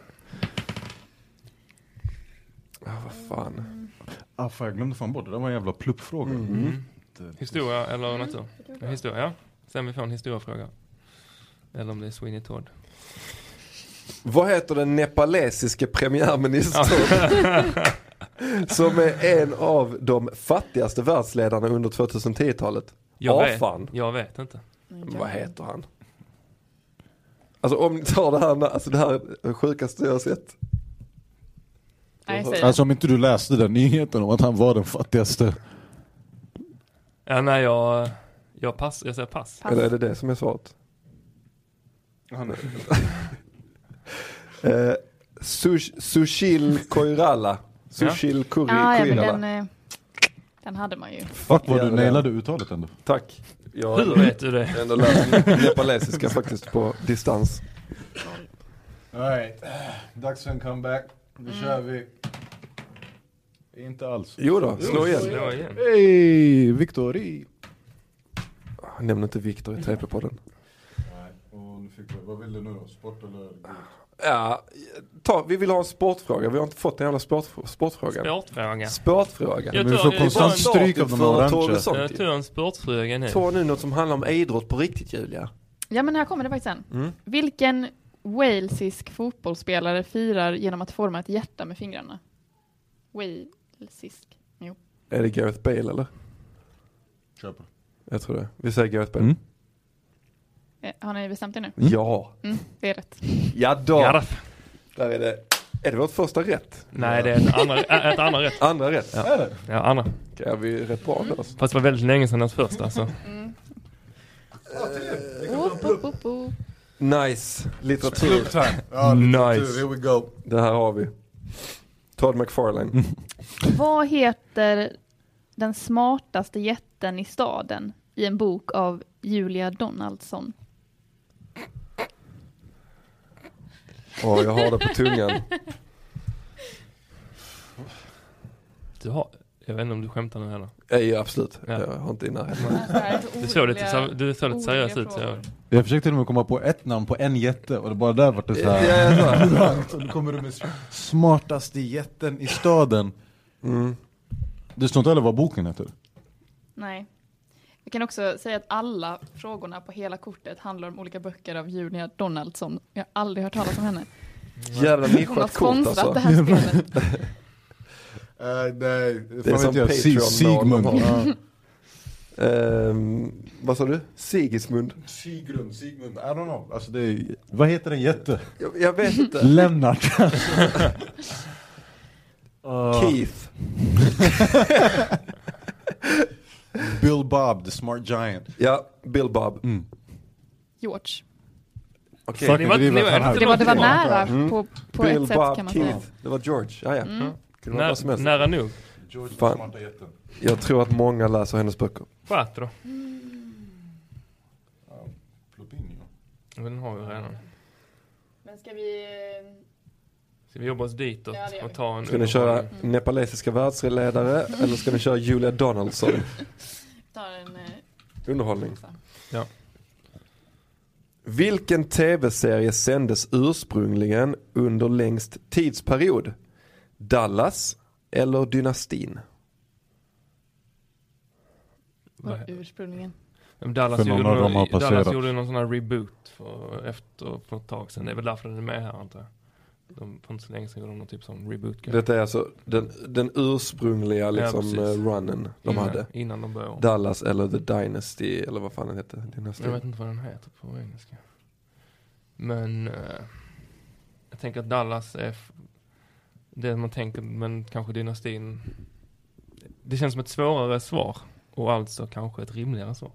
A: Ja, vad fan.
D: Ah, fan, jag glömde fan bort det, det var en jävla pluppfråga.
C: Mm.
D: Det-
C: Historia
E: Mm.
C: eller natur? Historia, ja. Sen vi får en historiefråga. Eller om det är Sweeney Todd.
A: Vad heter den nepalesiske
C: <laughs>
A: premiärministern? som är en av de fattigaste världsledarna under 2010-talet.
C: Jag
A: Ah,
C: vet,
A: fan.
C: jag vet inte.
A: Men Vad heter han? Alltså om ni tar det här, alltså det här är det sjukaste jag har sett.
E: Nej, säg det.
D: Alltså om inte du läste den nyheten om att han var den fattigaste.
C: Ja, nej, jag, jag, pass, jag säger pass.
E: Pass.
A: Eller är det det som är svaret? Han är... <laughs> eh, Sush, Sushil Koirala. Sushil Kuri,
E: Ah, ja, men
A: Koirala.
E: den, eh, den hade man ju.
D: Fuck vad du
A: Jävlar.
D: nailade uttalet ändå.
A: Tack. Jag
C: Hur vet du det?
A: har ändå lärt mig nepalesiska faktiskt på distans.
D: Alright, dags för en comeback. Nu kör vi. Inte alls.
A: Jo då, slå igen.
C: Slå igen.
D: Hej, Victori!
A: Jag nämnde inte Viktor i TP-podden.
D: Vad vill du nu då? Sport eller
A: Ja, ta, vi vill ha en sportfråga. Vi har inte fått en jävla sportfråga. sportfrågan.
C: Sportfråga.
A: Sportfråga.
C: Jag
D: Men vi
C: tar-
D: får
C: det är
D: konstant
C: bara en
A: Starten
D: stryk av de
A: för
D: orangea.
A: Tore Sonti.
C: Jag tog en sportfråga nu.
A: Ta nu något som handlar om idrott på riktigt Julia.
E: Ja, men här kommer det faktiskt en.
A: Mm.
E: Vilken walesisk fotbollsspelare firar genom att forma ett hjärta med fingrarna? Walesisk. Jo.
A: Är det Gareth Bale eller?
D: Kör på.
A: Jag tror det. Vi säger Gareth Bale.
D: Mm.
E: Eh, Har ni bestämt er nu?
A: Ja.
E: Mm, det är rätt.
A: Ja då.
C: Gareth.
A: Där är det. Är det vårt första rätt?
C: Nej, det är ett andra, ä- ett andra rätt.
A: Andra rätt? Ja.
C: Ja, andra.
A: Okej, är vi rätt bra med oss?
C: Fast det var väldigt länge sedan hans första, så.
E: Oop, oop, oop, oop.
A: Nice. Litteratur.
D: Ja,
C: Nice.
D: Here we go.
A: Det här har vi. Todd McFarlane.
E: Vad heter den smartaste jätten i staden i en bok av Julia Donaldson?
A: Åh, jag har det på tungan.
C: Du har... Jag vet inte om du skämtar nu heller.
A: Nej, absolut.
C: Ja.
A: Jag har inte i närheten.
C: Du såg lite, sam- du såg lite seriös ut, så jag...
D: Jag försökte till och med komma på ett namn på en jätte och det bara där vart det
A: Ja,
D: såhär.
A: jag sa.
D: Och nu kommer du med smartaste jätten i staden.
A: Mm.
D: Det står inte heller vad boken heter.
E: Nej. Vi kan också säga att alla frågorna på hela kortet handlar om olika böcker av Julia Donaldson. Jag har aldrig hört talas om henne.
A: Jävla
E: Hon har
A: nischat kort
E: sponsrat
A: alltså.
E: det här spelet.
D: nej, det
A: fan vet jag. Si- Sigmund.
D: Sigmund.
A: Ehm, vad sa du? Sigismund?
D: Sigrun, Sigmund, I don't know. Alltså det är, vad heter en jätte?
A: Jag, jag vet inte.
D: Lennart.
A: Keith.
D: Bill Bob, the smart giant.
A: Ja, Bill Bob.
E: George.
A: Okej.
C: Så ni var-
D: Det är
C: ni
D: väl han här.
E: Det var, det var nära
A: Mm.
E: på, på
A: Bill
E: ett sätt
A: Bob
E: kan man säga.
A: Keith. Det var George. Ja, ja. Kunde vara vad som
C: Nä,
A: helst.
C: nära nog.
D: George,
A: Fan.
D: smarta jätten.
A: Jag tror att många läser hennes böcker.
C: Quattro. då.
D: Plopinio.
C: Den har vi redan.
E: Men ska vi... eh,
C: Ska vi jobba oss ditåt
E: Ja, det gör vi.
C: och ta en...
A: Ska ni köra nepalesiska världsledare eller ska ni köra Julia Donaldson?
E: ta eh, en...
A: Underhållning.
C: Ja.
A: Vilken tv-serie sändes ursprungligen under längst tidsperiod? Dallas eller Dynastin?
C: Vad he-
E: ursprungligen?
C: Men Dallas,
D: För någon
C: gjorde
D: av dem har
C: någon, Dallas
D: passerat.
C: gjorde någon sån här reboot för, efter, för ett tag sedan. Det är väl därför den är med här antar jag. De, för inte så länge sedan gjorde de någon typ som reboot. kanske.
A: Detta är alltså den, den ursprungliga liksom,
C: precis. Mm.
A: eh, runnen de
C: Innan-
A: hade.
C: Innan de började om.
A: Dallas eller The Dynasty eller vad fan den hette. Dynasty.
C: Jag vet inte vad den heter på engelska. Men eh, jag tänker att Dallas är f- det man tänker, men kanske dynastin. Det känns som ett svårare svar och alltså kanske ett rimligare svar.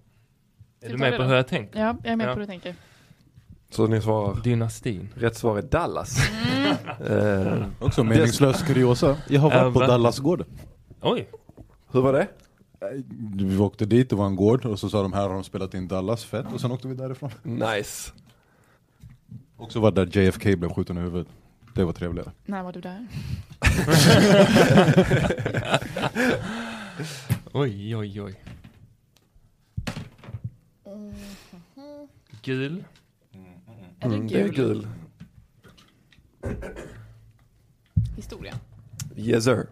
C: Är
E: vi
C: du
E: ta det
C: med på
E: då?
C: hur jag tänker?
E: Ja, jag är med
C: Ja.
E: på hur du tänker.
A: Så ni svarar?
C: Dynastin.
A: Rätt svar är Dallas.
E: <laughs> Mm.
A: Eh,
D: Också meningslös kuriosa. Jag har
C: Äh,
D: varit på
C: va?
D: Dallasgården.
C: Oj,
A: hur var det?
D: Vi åkte dit, det var en gård och så sa de här har de spelat in Dallas fett och sen åkte vi därifrån.
A: Nice.
D: Och så var det där JFK blev skjuten i huvudet. Det var trevligare.
E: När var du där?
C: oj, oj, oj.
E: Mm-hmm.
C: Gul.
E: Är det
A: Mm, det är
E: gul?
A: gul.
E: Historia.
A: Yes sir.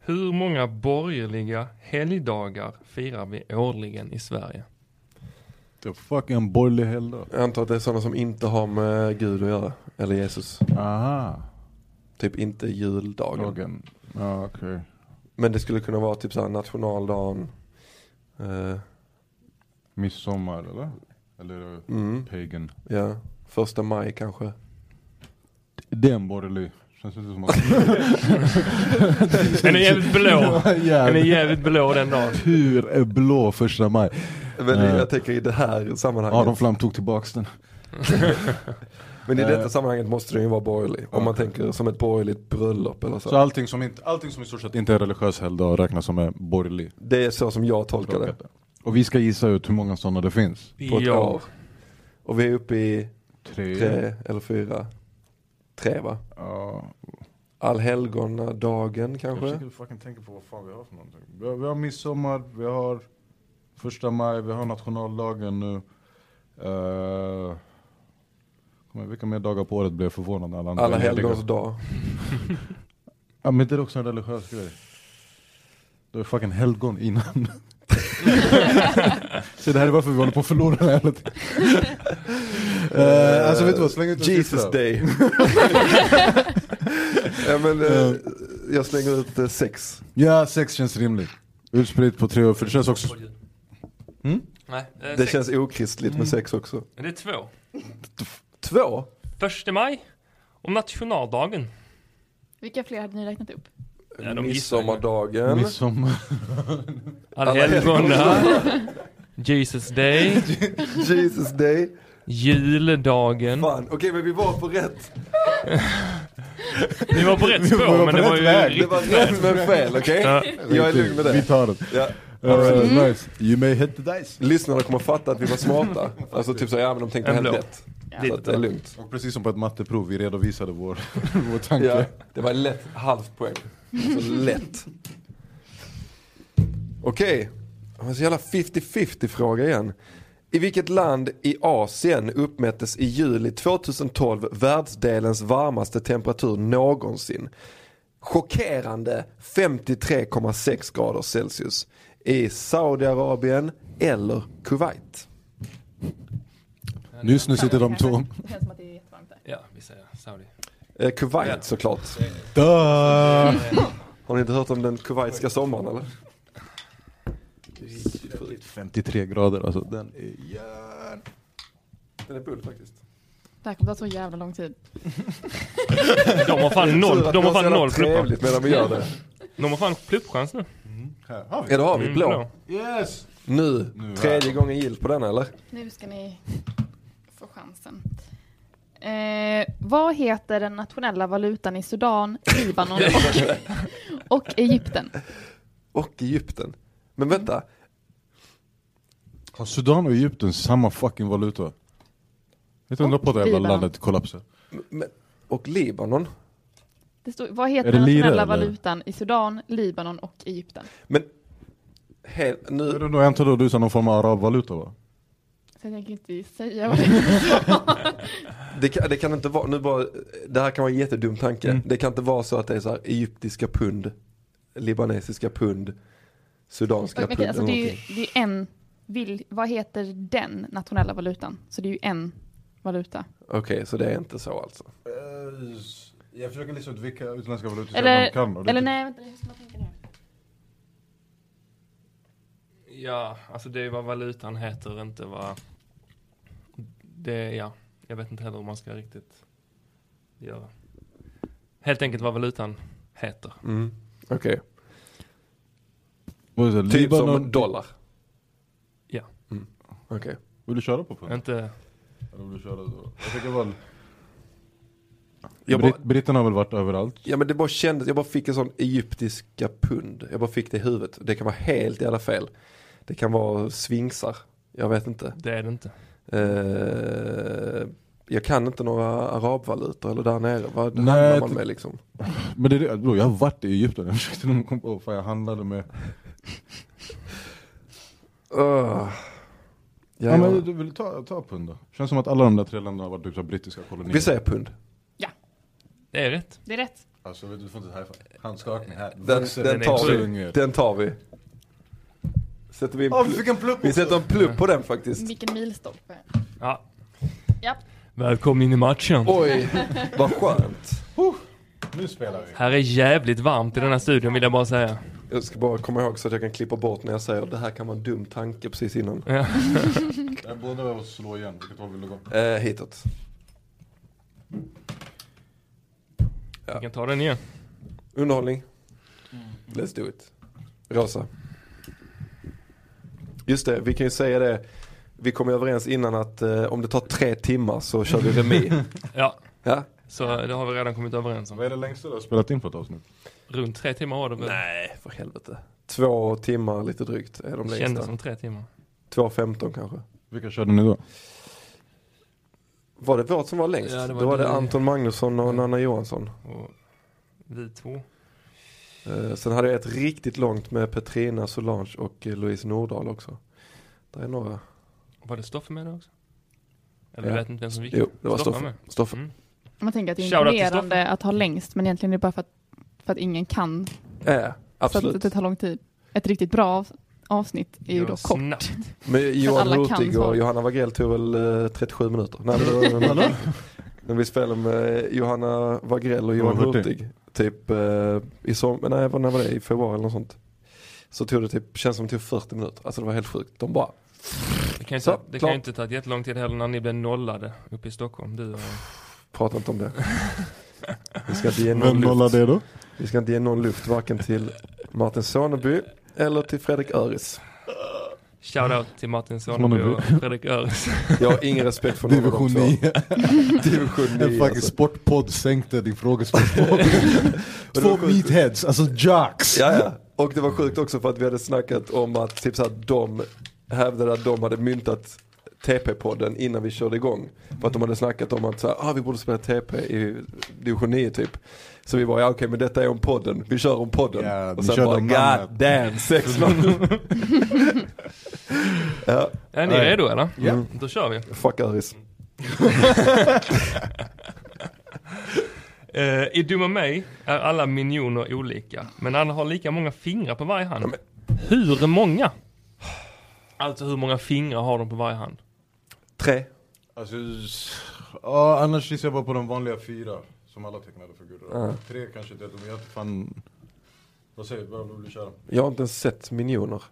C: Hur många borgerliga helgdagar firar vi årligen i Sverige?
D: The fucking borgerlig helgdag.
A: Jag antar att det är sådana som inte har med Gud att göra. Eller Jesus.
D: Aha.
A: Typ inte juldagen.
D: Dagen. Ja, okej.
A: Men det skulle kunna vara typ såhär nationaldagen. Eh,
D: Midsommar eller? Eller eh,
A: mm,
D: pagan.
A: ja. Första maj kanske.
D: Det är en borgerlig. Känns inte som att... <laughs>
C: Den är jävligt blå. Den är
D: Jävlar.
C: jävligt blå den dagen.
D: Tur är blå första maj.
A: Men
D: Eh.
A: jag tänker i det här sammanhanget.
D: Aron Flam tog tillbaks den.
A: Men
D: eh.
A: i detta sammanhanget måste den ju vara borgerlig. Om man tänker som ett borgerligt bröllop eller
D: Så
A: så.
D: allting som, inte, allting som i stort sett inte är religiös helgdag räknas som en borgerlig.
A: Det är så som jag tolkar det.
D: Och vi ska gissa ut hur många sådana det finns.
A: På ett
C: Ja.
A: år. Och vi är uppe i
D: Tre.
A: tre eller fyra. Tre va?
D: Ja.
A: Allhelgonadagen
D: Jag
A: kanske?
D: försöker fucking tänka på vad fan vi har för någonting. Vi har, vi har midsommar, vi har första maj, vi har nationaldagen nu. Uh, vilka mer dagar på året blir jag förvånad när alla andra
A: Alla
D: är lediga.
A: helgons dag.
D: Ja men det är också en religiös grej. Det är fucking helgon <laughs> innan. Så det här är varför vi håller på att förlora det här hela tiden. <laughs> Eh, Alltså vet du vad, släng ut en
A: Jesus
D: siffra. <laughs>
A: day. ja, men, eh, jag slänger ut eh, sex.
D: Ja, sex känns rimligt. Utspritt på tre år, för det känns också... Mm?
C: Nej, eh,
A: Det
C: sex.
A: känns okristligt med sex också.
C: Men Det är två.
A: Två?
C: Första maj och nationaldagen.
E: Vilka fler hade ni räknat upp?
C: Ja, de gissar ju.
A: Midsommardagen.
D: Midsommar.
C: Allhelgona. Jesus Day.
A: Jesus day.
C: Juldagen.
A: Fan, okej men vi var på rätt.
C: Ni var på rätt spår
D: på
C: men det
D: rätt
C: var ju
D: väg.
A: Det
C: riktigt
A: var rätt men fel, okej?
C: Ja.
A: Jag är lugn med
D: Vi
A: det.
D: tar det.
A: Ja.
D: Eh, Nice. You may hit the dice.
A: Lyssnarna kommer fatta att vi var smarta. Alltså typ såhär, ja men de tänkte
C: En
A: helt
C: blå.
A: rätt. Så att det är
C: lite.
A: lugnt.
D: Och precis som på ett matteprov, vi redovisade vår, <laughs> vår tanke.
A: Ja, det var lätt halvt poäng. Alltså lätt. Okej, det var så jävla 50-50 fråga igen. I vilket land i Asien uppmättes i juli 2012 världsdelens varmaste temperatur någonsin? Chockerande 53,6 grader Celsius. I Saudiarabien eller Kuwait?
D: Nyss nu sitter de två.
E: Det känns som att det är jättevarmt där.
C: Ja, vi säger Saudi.
A: Eh, Kuwait
C: Ja.
A: såklart.
D: Duh!
A: Har ni inte hört om den kuwaitiska sommaren eller?
D: 53 grader alltså, den är järn.
A: Den är bull faktiskt.
E: Det här kommer ta så jävla lång tid.
C: De har fan
A: Tur
C: noll,
A: att
C: de
A: vi
C: har
A: så
C: fan
A: jävla
C: noll pluppar.
A: Trevligt medan vi gör det.
C: De har fan pluppchans nu.
D: Här har
A: Ja det har vi,
C: Mm,
A: blå.
C: bra.
D: Yes!
A: Nu,
D: Nu,
A: tredje gången gillt på den eller?
E: Nu ska ni få chansen. Eh, vad heter den nationella valutan i Sudan, Libanon <laughs> och, och Egypten?
A: Och Egypten. Men vänta,
D: Har Sudan och Egypten samma fucking valuta? Jag undrar på det jävla
E: Libanon.
D: landet kollapsar.
A: men, och Libanon.
E: Det står, vad heter
D: Är det
E: den
D: lira,
E: nationella
D: eller?
E: valutan i Sudan, Libanon och Egypten?
A: Men he, nu,
D: Jag antar då du sa någon form av arabvaluta va?
E: Så jag tänker inte <laughs> säga vad det är.
A: det, kan- det kan inte vara, nu bara, det här kan vara en jättedum tanke.
D: Mm.
A: Det kan inte vara så att det är så här egyptiska pund, libanesiska pund, sudanska
E: Okej,
A: pund
E: alltså
A: eller
E: det är
A: någonting.
E: ju det är ju en, vil, vad heter den nationella valutan? Så det är ju en valuta.
A: Okej, så det är inte så alltså.
D: Eh, Jag försöker lista ut vilka utländska valutor
E: Eller, eller nej, vänta, jag måste tänka nu.
C: Ja, alltså det är vad valutan heter, inte vad... Det, ja. Jag vet inte heller hur man ska riktigt göra. Helt enkelt vad valutan heter.
A: Mm. Okej,
D: Vad är det?
A: typ som
D: Libanon?
A: dollar.
C: Ja.
A: Mm. Okej.
D: Vill du köra på punkt?
C: Inte...
D: Eller vill du köra då? Jag tänker väl...
A: Jag
D: Brit-
A: bara-
D: Britterna har väl varit överallt?
A: Ja men det bara kändes, jag bara fick en sån egyptiska pund. Jag bara fick det i huvudet. Det kan vara helt jävla fel. Det kan vara svinksar. Jag vet inte.
C: Det är det inte.
A: Eh, jag kan inte några arabvalutor eller där nere. Vad
D: Nej,
A: handlar man
D: det-
A: med liksom?
D: Men det är det, bro, jag har varit i Egypten, <laughs> jag försökte nog komma på, fan jag handlade med...
A: Öh. ja,
D: Ja, men
A: ja.
D: du vill ta, ta pund då? Känns som att alla de där tre länderna har varit typ så här brittiska kolonier.
A: Vi säger pund.
C: Det är rätt.
E: Det är rätt.
D: Alltså vet du, du får inte high five. Handskakning här.
A: Den,
D: Vuxen.
A: den,
C: är
A: tar
D: absolut
A: vi.
D: inget.
A: den tar vi. Sätter vi, en
D: Åh, vi
A: plupp-
D: fick en plupp
A: vi
D: också.
A: sätter en plupp på den faktiskt.
E: Vilken milstolpe.
C: Ja.
E: Ja.
C: Välkommen in i matchen.
A: Oj, vad skönt.
D: Nu spelar vi.
C: Här är jävligt varmt i den här studion vill jag bara säga.
A: Jag ska bara komma ihåg så att jag kan klippa bort när jag säger det här kan vara en dum tanke precis innan.
C: Ja.
D: Jag båda behöver slå igen, vilket håll vill du gå?
A: Eh, hitåt.
C: Vi kan ta den igen.
A: Underhållning.
C: Mm.
A: Let's do it. Rosa. Just det, vi kan ju säga det. Vi kom överens innan att eh, om det tar tre timmar så kör vi <laughs> remi.
C: Ja,
A: ja?
C: så det har vi redan kommit överens
D: Vad
C: om.
D: är det längsta du har spelat in på ett avsnitt?
C: Runt tre timmar var det väl?
A: Nej, för helvete. Två timmar lite drygt är de
C: Kändes
A: längsta.
C: som tre timmar.
A: Två femton kanske.
D: Vilka körde ni då?
A: Var det vårt som var längst?
C: Ja, det
A: det
C: var
A: var, det
C: du.
A: Anton Magnusson och
C: Ja.
A: Nanna Johansson.
C: Och vi två.
A: Eh, sen hade jag ett riktigt långt med Petrina Solange och eh, Louise Nordahl också. Där är några.
C: Var det Stoffe med då också? Eller
A: Ja.
C: jag vet inte vem som gick.
A: Jo, det var
C: Stoffe
A: Stoffe.
C: med.
A: Stoffe.
C: Mm.
E: Man tänker att det är
C: Shoutout till
E: imponerande att ha längst, men egentligen är det bara för att, för att ingen kan.
A: Ja,
E: Så att
A: absolut.
E: det tar lång tid. Ett riktigt bra av- avsnitt är ju
C: Går
E: då kort.
C: snabbt.
A: Men Johan
E: alla kan
A: Hurtig och
E: svara.
A: Johanna Wagrell tog väl eh, 37 minuter. Nej, men,
D: <laughs>
A: men, men, men vi spelade med Johanna Wagrell och Johan
D: Och Hurtig.
A: Hurtig. Typ eh, i som, men nej, vad- när var det? I februari eller något sånt. Så tog det typ, känns som det tog 40 minuter. Alltså det var helt sjukt. De bara,
C: Det kan ju
A: Så,
C: ta- det kan ju
A: klart.
C: inte ta jättelång tid heller när ni blev nollade uppe i Stockholm. Du och...
A: prata inte om det. Vi ska inte ge någon
D: Vem
A: luft.
D: nollade det då?
A: Vi ska inte ge någon luft varken till Martin Soneby eller till Fredrik Öris.
C: Shoutout till Martin Soneby
D: Soneby.
C: och Fredrik Öres.
A: Jag har ingen respekt för någon
D: Division
A: av de
D: 9.
A: två. <laughs> Division
D: En
A: 9.
D: fucking
A: Alltså.
D: sportpodd sänkte din <laughs> frågespörsmål. Två meatheads, alltså jocks.
A: Ja, ja. Och det var sjukt också för att vi hade snackat om att typ så här, de hävdade att de hade myntat TP-podden innan vi körde igång. För att de hade snackat om att så här, ah, vi borde spela TP i division 9 typ. Så vi bara, ja okej men detta är om podden, vi kör om podden.
D: Ja,
A: och
D: ni
A: sen
D: körde
A: bara,
D: om
A: god
D: namnet."
A: damn, 6-0. ja,
C: Är ni redo eller?
D: Ja.
C: Då kör vi.
A: <laughs> fuck Öris.
C: Eh, I Dumma mig är alla minioner olika, men alla har lika många fingrar på varje hand. Hur många? Alltså hur många fingrar har de på varje hand?
A: Tre.
D: Alltså, s- ja, annars gissar jag bara på de vanliga fyra som alla tecknade figurer.
A: Ja.
D: Tre kanske inte, de jag inte fan... Vad säger du? Vad vill du köra?
A: Jag har inte ens sett minioner.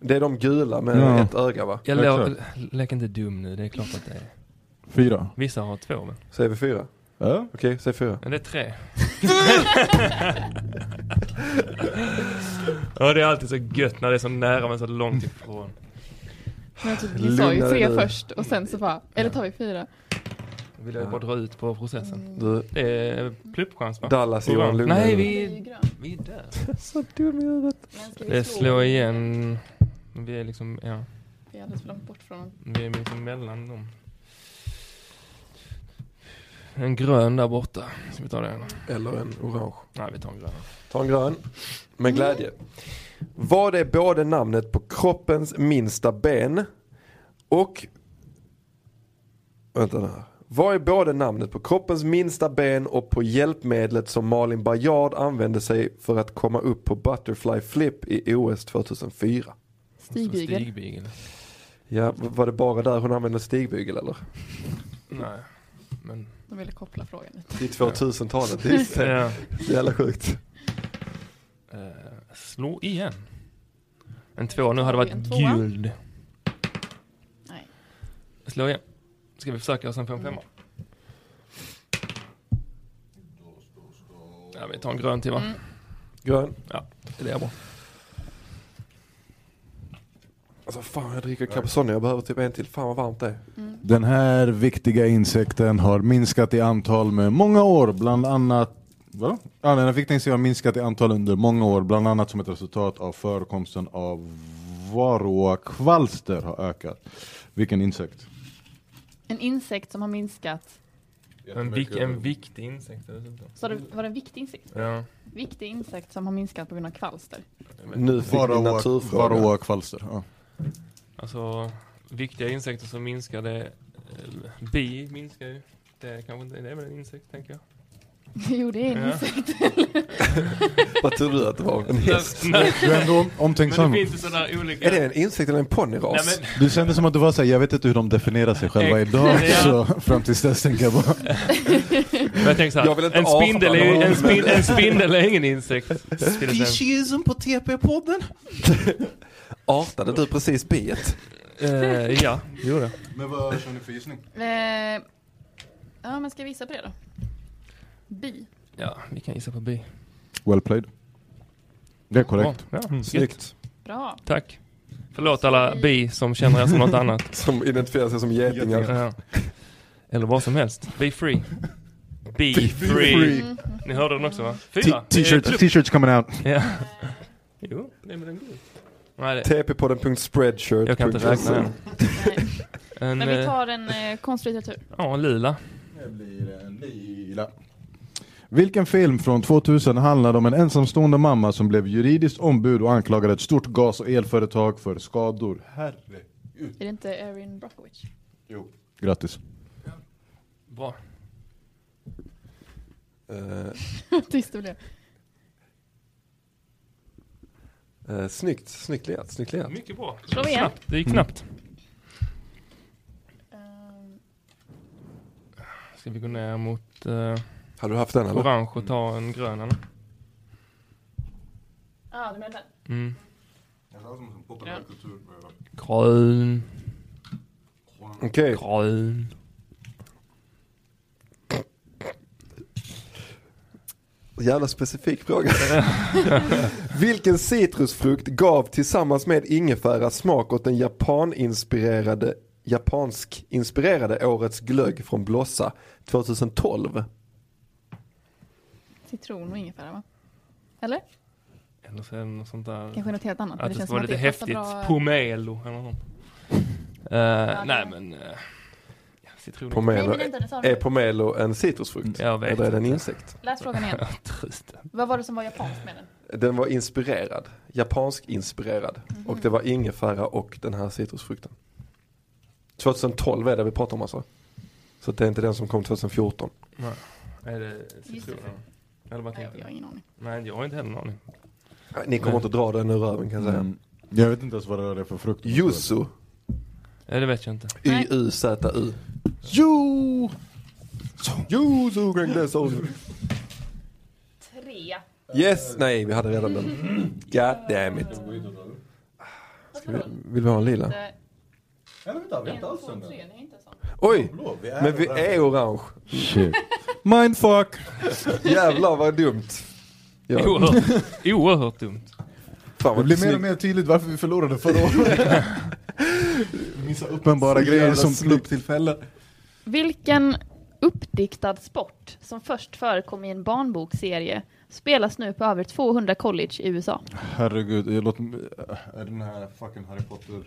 A: Det är de gula med
D: Ja.
A: ett öga va?
C: Jag
D: Ja,
C: lä- lek inte dum nu, det är klart att det är.
D: Fyra?
C: Vissa har två men.
A: Säger vi fyra?
D: Ja.
A: Okej, säg fyra.
C: Men det är tre. ja det är alltid så gött när det är så nära men så långt ifrån.
E: Men jag typ, vi sa ju
A: Lugna dig
E: tre
A: nu.
E: först och sen så bara, eller tar vi fyra?
C: Då vill jag bara dra ut på processen.
A: Du,
C: Det är pluppchans va?
A: Dallas Johan, lugna dig
C: Nej
A: nu.
C: vi är, vi är där.
A: Så dum i huvudet.
C: Det är slå igen. Vi är liksom, ja.
E: Vi är alldeles för långt bort från dem.
C: Vi är liksom mellan dem. En grön där borta. Ska vi ta den?
A: Eller en orange.
C: Nej, vi tar en grön.
A: Ta en grön. Med glädje. Vad är både namnet på kroppens minsta ben och... Vänta nu här. Vad är både namnet på kroppens minsta ben och på hjälpmedlet som Malin Bajard använde sig för att komma upp på Butterfly Flip i OS 2004?
E: Stigbygel.
C: Stigbygel.
A: Ja, v- var det bara där hon använde stigbygel eller?
C: Nej, men...
E: De ville koppla frågan lite.
A: I 2000-talet, det <laughs> är så
C: Ja.
A: jävla sjukt.
C: Eh, slå igen. En två. Nu hade det
E: En
C: varit
E: tvåa.
C: guld.
E: Nej.
C: Slå igen. Ska vi försöka och sen få en femma? Ja, vi tar en grön till va?
E: Mm.
A: Grön.
C: Ja, det är bra.
A: Alltså fan jag dricker Capricornia, jag behöver typ en till. Fan vad varmt det är.
D: Den här viktiga insekten har minskat i antal med många år, bland annat Vadå? Ja, den här viktiga insekten har minskat i antal under många år, bland annat som ett resultat av förekomsten av varroakvalster har ökat. Vilken insekt?
E: En insekt som har minskat.
C: En, vik- en viktig insekt dessutom.
E: Så det var det en viktig insekt?
C: Ja.
E: Viktig insekt som har minskat på grund av kvalster. <laughs>
A: Nu fick vi
D: Varroak-
A: naturfråga.
D: Varroakvalster. Ja.
C: Alltså, viktiga insekter som minskar det... eh, Bi minskar ju. Det är kanske inte... Det är väl en insekt, tänker jag.
E: jo, det är en
C: Ja. <laughs>
E: insekt.
A: Vad trodde du att det var? En häst?
C: Nej,
D: Du är ändå
C: men
D: omtänksam.
C: det finns ju sådana olika...
A: Är det en insekt eller en
C: Nej,
A: ponnyras?
C: men,
D: Du kände som att du var såhär, jag vet inte hur de definierar sig själva
C: Ex-
D: idag,
C: ja.
D: så <laughs> fram tills dess tänker jag bara
C: men jag tänker så här,
A: Jag vill inte
C: en, spindel är, ju-
A: avhandla
C: en,
A: honom,
C: spin, en spindel är ingen insekt. till exempel.
A: på TP-podden? <laughs> Artade du precis biet?
C: Eh, ja, jo det.
D: Men vad kör ni för gissning?
E: Eh, ja, men ska jag visa på det då? Bi.
C: Ja, vi kan gissa på bi.
D: Well played. Det är korrekt.
C: Ja, ja,
A: Snyggt.
E: Bra.
C: Tack. Förlåt alla bi som känner er som något annat.
A: Som identifierar sig som getingar.
C: Ja. Eller vad som helst. Be free. Be, free.
E: Mm.
C: Ni hörde den också va? Fyra.
D: T- T-shirts, t-shirts coming out.
E: <laughs>
C: Ja. Jo, nej men den går. Nej, det,
A: TP-podden.spreadshirt.
C: jag kan inte räkna den.
E: Nej.
C: En,
E: Men vi
C: eh,
E: tar en eh, konstlitteratur.
C: ja, en lila.
D: Det blir en lila. Vilken film från 2000 handlade om en ensamstående mamma som blev juridiskt ombud och anklagade ett stort gas och elföretag för skador? Herre.
E: Är det inte Erin Brockovich?
D: Grattis.
C: Bra.
A: Eh,
E: <laughs> Tyst det blev.
A: eh, snyggt, snyggt lirat, snyggt lirat.
C: Mycket bra.
E: Slå igen. Mm.
C: Snabbt. Det gick snabbt.
E: Ehm,
C: Ska vi gå ner mot eh,
A: Hade du haft den eller?
C: orange och ta en grön eller?
E: ah, du menar den?
C: Mm.
E: Grön.
C: Grön.
A: Okej,
C: Grön.
A: jävla specifik
C: <laughs>
A: fråga. Vilken citrusfrukt gav tillsammans med ingefära smak åt den japaninspirerade, japansk-inspirerade årets glögg från Blossa 2012?
E: Citron och ingefära va? Eller?
C: Eller så är det något sånt där.
E: Kanske något helt annat. men
C: Att det
E: känns
C: ska vara
E: som
C: lite
E: det passar
C: häftigt.
E: bra-
C: Pomelo eller
E: <laughs>
C: något. Eh,
E: det-
C: nej men... Uh, citron.
E: Nej
A: Pomelo,
E: men vänta, det sa
A: är
E: du.
A: pomelo en citrusfrukt?
C: Jag vet
A: Eller är det en
C: inte.
A: insekt?
E: Läs
C: <laughs>
E: frågan igen.
C: Trist.
E: Vad var det som var japanskt med den?
A: Den var inspirerad, japansk-inspirerad.
E: Mm-hmm.
A: Och det var ingefära och den här citrusfrukten. 2012 är det vi pratar om alltså. Så det är inte den som kom 2014.
C: Är det citron?
E: Just det.
C: Eller vad
E: Nej,
C: tänkte
E: jag har
C: du?
E: ingen aning.
C: Nej, jag har inte heller någon aning.
A: Nej, Ni kommer
C: Nej.
A: inte dra den ur röven kan jag säga.
D: Mm. Jag vet inte ens vad det är för frukt.
A: Yuzu,
C: Nej, det vet jag inte.
E: Nej.
A: Y-U-Z-U.
D: Jo!
A: Yuzu Grand Glass Ozu.
E: Tre.
A: Yes, nej vi hade redan den. God damn it. Ska vi, vill vi ha en lila?
E: Det-
D: Jag vet inte,
E: En, två, tre. Nej, inte sånt.
A: Oj! Men vi är orange.
D: Shit. Mindfuck!
A: Jävlar vad dumt. Ja,
C: Oerhört, oerhört dumt.
A: fan
D: Det
A: vad
D: blir mer och
A: snyggt.
D: mer tydligt varför vi förlorade förra året. <laughs> Missa uppenbara
A: Så
D: grejer
A: jävla
D: som
A: snyggt.
D: klubbtillfällen.
E: Vilken uppdiktad sport som först förekom i en barnbokserie spelas nu på över 200 college i USA?
D: Herregud, jag låter, är den här fucking Harry Potter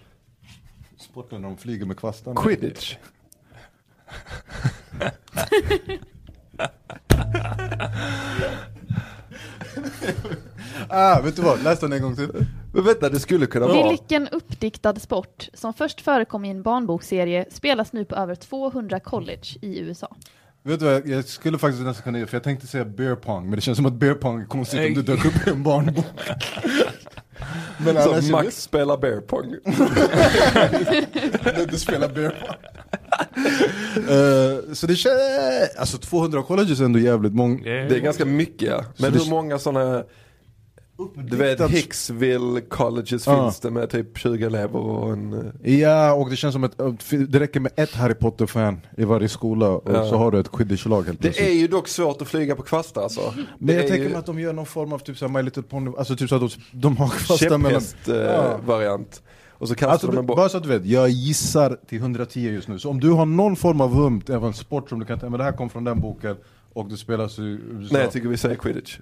D: sporten när de flyger med kvastarna?
A: Quidditch.
D: Ah, vet du vad? Läs den en gång till. <laughs>
A: Men vänta det skulle kunna vara.
E: Vilken uppdiktad sport som först förekom i en barnbokserie spelas nu på över 200 college i USA?
D: Vet du vad, jag skulle faktiskt nästan kunna göra, för jag tänkte säga beer pong, men det känns som att beer pong är konstigt om du dök upp i en <laughs> barnbok. men annars,
A: Så Max spelar bear pong.
D: jag vet inte spela beer pong. Eh, så det känns, alltså 200 colleges är ändå jävligt många.
A: Det är ganska mycket ja. Men
D: det-
A: hur många sådana, du vet Hicksville colleges
D: Ja.
A: finns det med typ 20 elever och en... eh,
D: Ja, och det känns som att att det räcker med ett Harry Potter-fan i varje skola och
A: Ja.
D: så har du ett quidditch-lag helt
A: Det är ju dock svårt att flyga på kvastar alltså.
D: Men
A: Det
D: jag
A: är
D: tänker
A: ju
D: mig att de gör någon form av typ såhär My Little Pony, alltså typ så att de, de har fasta
A: eh,
D: mellan... Ja.
A: käpphäst-variant. Och så kastar
D: Alltså,
A: de
D: du,
A: en boll.
D: bara så att du vet, jag gissar till 110 just nu. Så om du har någon form av hump, även sport som du kan tänka men det här kom från den boken och det spelas i USA.
A: Nej jag tycker vi säger quidditch.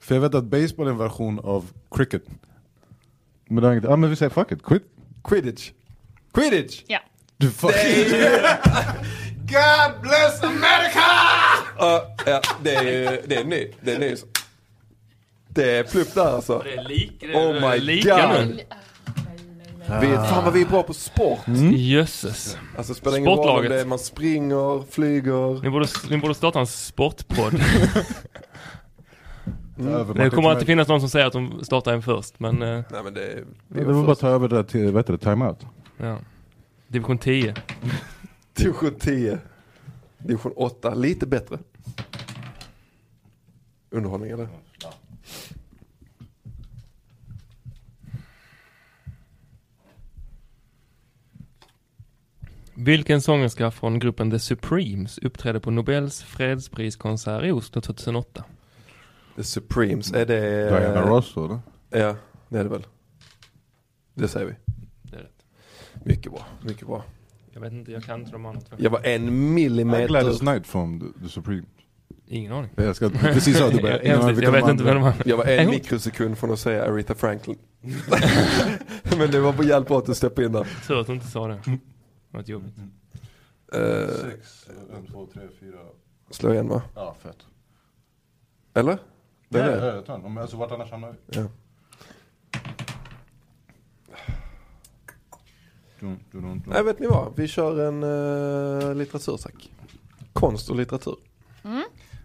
D: För jag vet att baseball är en version av cricket. Men det har inget, ja ah, men vi säger fuck it, quit.
A: Quidditch. Quidditch!
E: Ja.
D: Du fuck
A: God bless America! ja, det är ju, det är ny, det är ny. Det är plupp där alltså.
C: Det är lika, det
A: Oh
C: är
A: my
C: lika
A: God.
C: nu.
A: Vi, fan vad vi är bra på sport.
D: Mm.
C: Jösses.
A: Alltså det spelar ingen roll om
C: Sportlaget.
A: det är man springer, flyger.
C: Ni borde, ni borde starta en sportpodd.
D: över.
C: Det kommer alltid finnas någon som säger att de startar en först, men eh,
A: Nej men det är...
D: Det var bara att ta över det där till, vad heter det, timeout?
C: ja. Division 10.
A: Division 10. Division 8, lite bättre. Underhållning eller?
C: Vilken sångerska från gruppen The Supremes uppträdde på Nobels fredspriskonsert i Oslo 2008?
A: The Supremes, är det...
D: Diana Ross då? eller?
A: Ja, det är det väl. Det säger vi.
C: Det är rätt.
A: Mycket bra, mycket bra.
C: Jag vet inte, jag kan inte de andra två.
A: Jag var en
D: I
A: millimeter...
D: Gladys Knight från The, the Supreme.
C: Ingen aning.
D: Jag ska precis sa du bara.
C: <laughs> jag, jag, jag vet inte vem de andra...
A: Jag var en
C: En gång.
A: mikrosekund från att säga Aretha Franklin. <laughs> Men det var på hjälp åt att steppa in där.
C: Tur att du inte sa det. Det var ett jobbigt.
A: Eh,
D: Sex, en, två, tre, fyra.
A: slå igen va?
D: Ja, fett.
A: Eller? Det är
D: Nej,
A: det.
D: jag tar den. Men Alltså vart annars hamnar vi?
A: Ja.
D: Dun, dun, dun, dun.
A: Nej vet ni vad? Vi kör en uh, litteratursack. Konst och litteratur.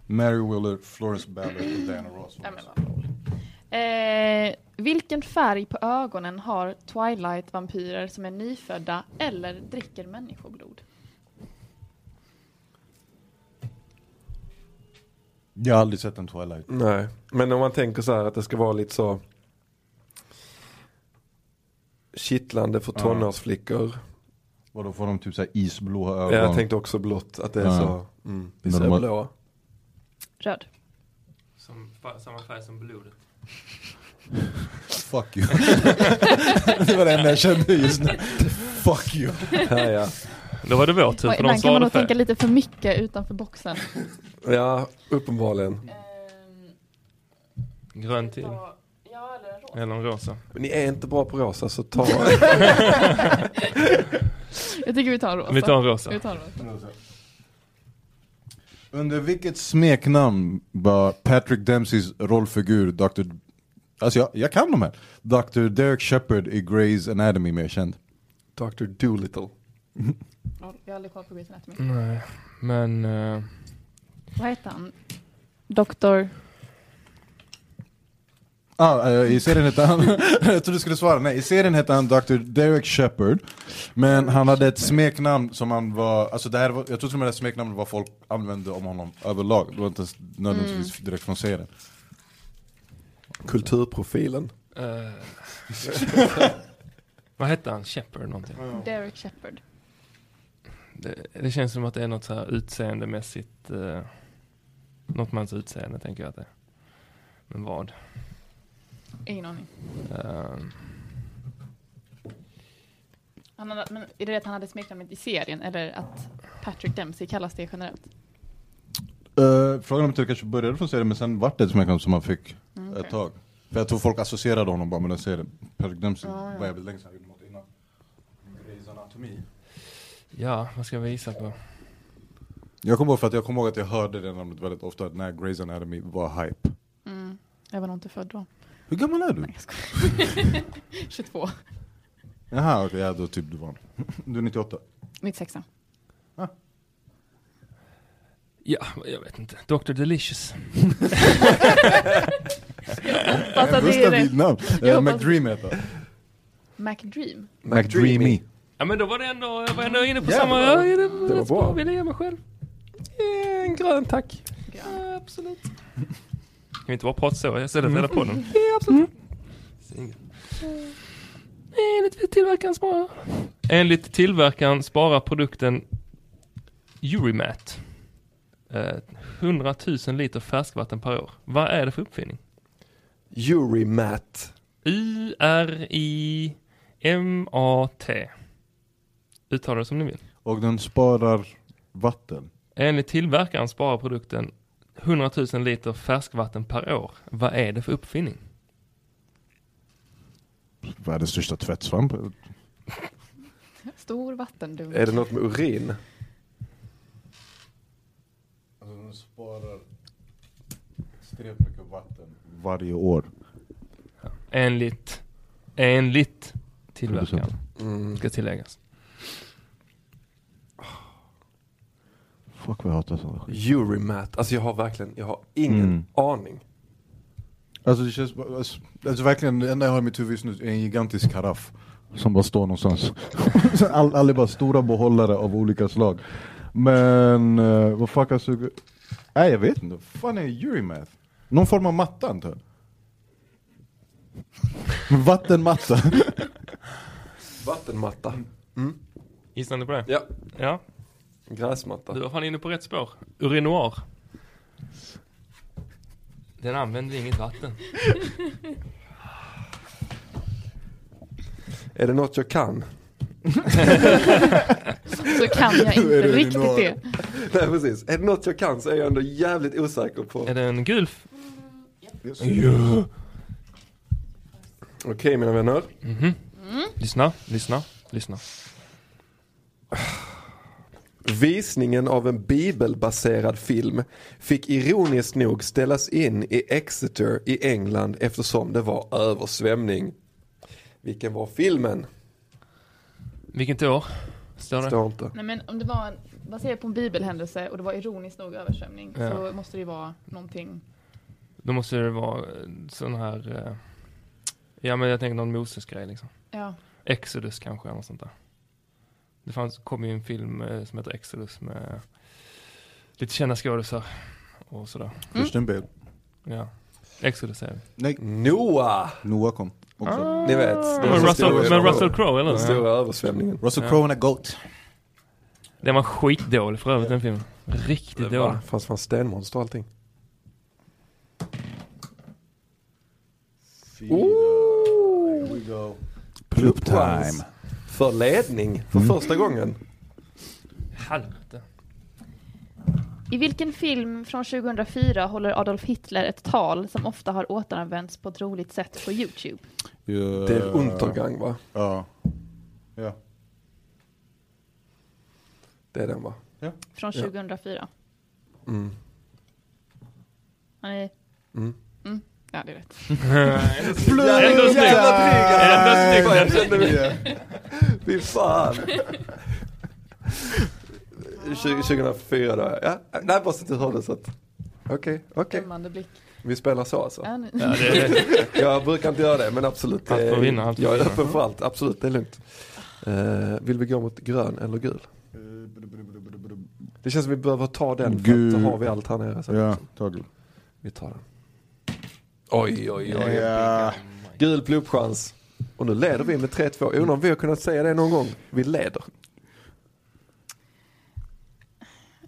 D: Mary Willard, Florence Ballard och Diana Ross.
E: Ja, men vad roligt. Eh, vilken färg på ögonen har Twilight-vampyrer som är nyfödda eller dricker människoblod?
D: Jag har aldrig sett en Twilight.
A: Nej, men om man tänker så här att det ska vara lite så kittlande för
D: Ja.
A: tonårsflickor.
D: Vadå får de typ såhär isblåa
A: Ja,
D: ögon?
A: jag tänkte också blått att det är
D: Ja.
A: så. Mm, vi
D: Men
A: ser
D: de har-
A: blå.
E: Röd.
C: Som, samma färg som blodet.
D: Fuck you. <laughs> det var det enda jag kände just nu. Fuck you.
A: Ja, ja.
C: Då var det vår tur
E: Oj,
C: för de
E: Ibland kan man
C: svarade
E: nog
C: färg.
E: tänka lite för mycket
C: <laughs>
E: utanför boxen. Eh,
A: ja, uppenbarligen.
C: Grön till.
E: Ja, eller rå.
C: Eller en rosa.
A: Men ni är inte bra på rosa så <laughs> ta.
E: Jag tycker vi tar rosa.
C: Vi tar en rosa.
E: Vi tar rosa.
D: Under vilket smeknamn var Patrick Dempseys rollfigur Dr. Alltså jag, jag kan de här. Dr. Derek Shepard i Grey's Anatomy mer känd.
A: Dr. Doolittle.
E: Jag har aldrig koll på Grey's Anatomy.
C: Nej, men... eh,
E: Vad heter han? Doktor...
D: Ah, eh, I serien hette han, <laughs> jag trodde du skulle svara, nej i serien hette han Dr. Derek Shepard Men han hade ett smeknamn som han var, alltså det här var, jag tror till och med det här smeknamnet var folk använde om honom överlag Det var inte ens nödvändigtvis
E: Mm.
D: direkt från serien
A: Kulturprofilen.
C: eh, <laughs> vad hette han? Shepard någonting?
E: Derek Shepard.
C: Det, det känns som att det är något så här utseendemässigt... Uh, något med hans utseende tänker jag att det är. Men vad?
E: Ingen aning.
C: Eh,
E: Han hade, men är det att han hade smeknamnet i serien eller att Patrick Dempsey kallas det generellt?
D: Eh, Frågan är om det kanske började från serien men sen vart det ett smeknamn som han fick
E: Mm,
D: ett tag För jag tror folk associerade honom bara med den serien Patrick Dempsey
E: Ja, ja.
D: var jävligt länge sedan han gjorde något innan Grey's Anatomy
C: ja, vad ska jag visa på?
D: Jag kommer ihåg för att jag kommer ihåg att jag hörde det namnet väldigt ofta när Grey's Anatomy var hype
E: Mm. Jag var nog inte född då.
D: Hur gammal är du?
E: Nej, jag skojar. <laughs> 22.
D: Jaha, okej, ja då typ du var <laughs> Du är 98.
E: 96.
C: Ja, jag vet inte. Dr. Delicious.
E: Fast att det är det.
D: namn.
E: Jag hoppas-
D: McDream heter han.
E: McDream.
D: McDreamy.
C: Ja men då var det ändå, jag var ändå inne på
A: Ja,
C: samma...
A: det var-
C: ja, det,
A: det var
C: rätt
A: bra.
C: Vill jag ge mig själv.
A: Eh, En grön tack.
E: Grön.
C: absolut. Kan vi inte bara prata så istället för hela podden? Mm. Ja, absolut. Enligt tillverkaren sparar... Enligt tillverkaren sparar produkten Eurimat eh, 100 000 liter färskvatten per år. Vad är det för uppfinning?
A: Urimat.
C: U-R-I-M-A-T. Uttala det som ni vill.
D: Och den sparar vatten.
C: Enligt tillverkaren sparar produkten 100 000 liter färskvatten per år. Vad är det för uppfinning?
D: Världens största tvättsvamp.
E: Stor vattendunk.
A: Är det något med urin?
D: Alltså den sparar extremt mycket vatten. Varje år.
C: Enligt, enligt tillverkaren,
D: Producent.
A: Mm.
C: ska tilläggas.
D: Fuck vad jag hatar sådana skit.
A: Urimat. Alltså jag har verkligen, jag har ingen
D: Mm.
A: aning.
D: Alltså det känns bara- alltså, alltså verkligen det enda jag har i mitt huvud just nu är en gigantisk karaff. Som bara står någonstans. <laughs> Så All, alla är bara stora behållare av olika slag. Men eh, vad fuck alltså. Nej jag vet inte. fan är Eurimath? Någon form av matta antar jag. <laughs> Vattenmatta.
A: Vattenmatta.
C: Gissar ni på det?
A: Ja,
C: Ja,
A: gräsmatta.
C: du var fan inne på rätt spår. Urinoir. Den använder inget vatten.
A: Är det något jag kan? <laughs>
E: Så kan jag
D: Är
E: inte
D: det
E: riktigt
D: ordinarie?
E: det.
A: Nej precis, är det något jag kan så är jag ändå jävligt osäker på.
C: Är det en gul? f-
A: Okej mina vänner.
C: Mhm. Lyssna, lyssna, lyssna.
A: Visningen av en bibelbaserad film fick ironiskt nog ställas in i Exeter i England eftersom det var översvämning. Vilken var filmen?
C: Vilket år? Står det?
A: Står inte.
E: Nej men om det var en, baserat på en bibelhändelse och det var ironiskt nog översvämning
C: Ja.
E: så måste det ju vara någonting.
C: Då måste det vara eh, sån här... eh, Ja men jag tänker någon Moses-grej liksom.
E: Ja.
C: Exodus kanske eller något sånt där. Det fanns, kom ju en film eh, som heter Exodus med lite kända skådisar och sådär.
D: Christian Bale.
C: Ja. Exodus är det.
D: Nej,
A: Noah!
D: Noah kom också.
A: Ni vet. det
C: Med
A: var
C: Mm. Russell,
A: stora-
C: med Russell Crowe eller?
A: Den
C: Ja.
A: stora översvämningen.
D: Russell
C: Ja.
D: Crowe and a goat.
C: Den var skitdålig för övrigt den filmen. Riktigt dålig.
A: Det Ah, fanns fan stenmonster och allting.
D: Ooh. Here we go. Plup time.
A: För ledning, för första gången.
C: Helvete.
E: I vilken film från 2004 håller Adolf Hitler ett tal som ofta har återanvänts på ett roligt sätt på Youtube?
A: Det är Untergang va?
D: Ja. Ja.
A: Det är den va?
E: Från
A: Ja.
E: 2004.
A: Mm.
E: Har ni?
A: Mm.
E: Mm. Ja, det är rätt.
C: Ändå snyggt. Ändå snyggt.
A: Fan, jag kände mig... Fy fan. 20- 2004 då, ja. Nej, bara så att du hörde så att... Okej, okej.
E: Dömande blick.
A: Vi spelar så alltså.
E: Ja, nu.
C: Ja, det <laughs> är,
A: Jag brukar inte göra det, men absolut. det
C: Allt får
A: är-
C: vinna, allt får
A: Jag är
C: vinna.
A: öppen för allt, absolut. Det är lugnt. Eh, vill vi gå mot grön eller gul? Det känns som vi behöver ta den, för att
D: Gul.
A: då har vi allt här nere. Så
D: Ja, tagel.
A: vi tar den. Oj, oj, oj.
D: Ja.
A: Gul pluppchans. Och nu leder vi med 3-2. Jag undrar om vi har kunnat säga det någon gång. Vi leder.
E: <laughs>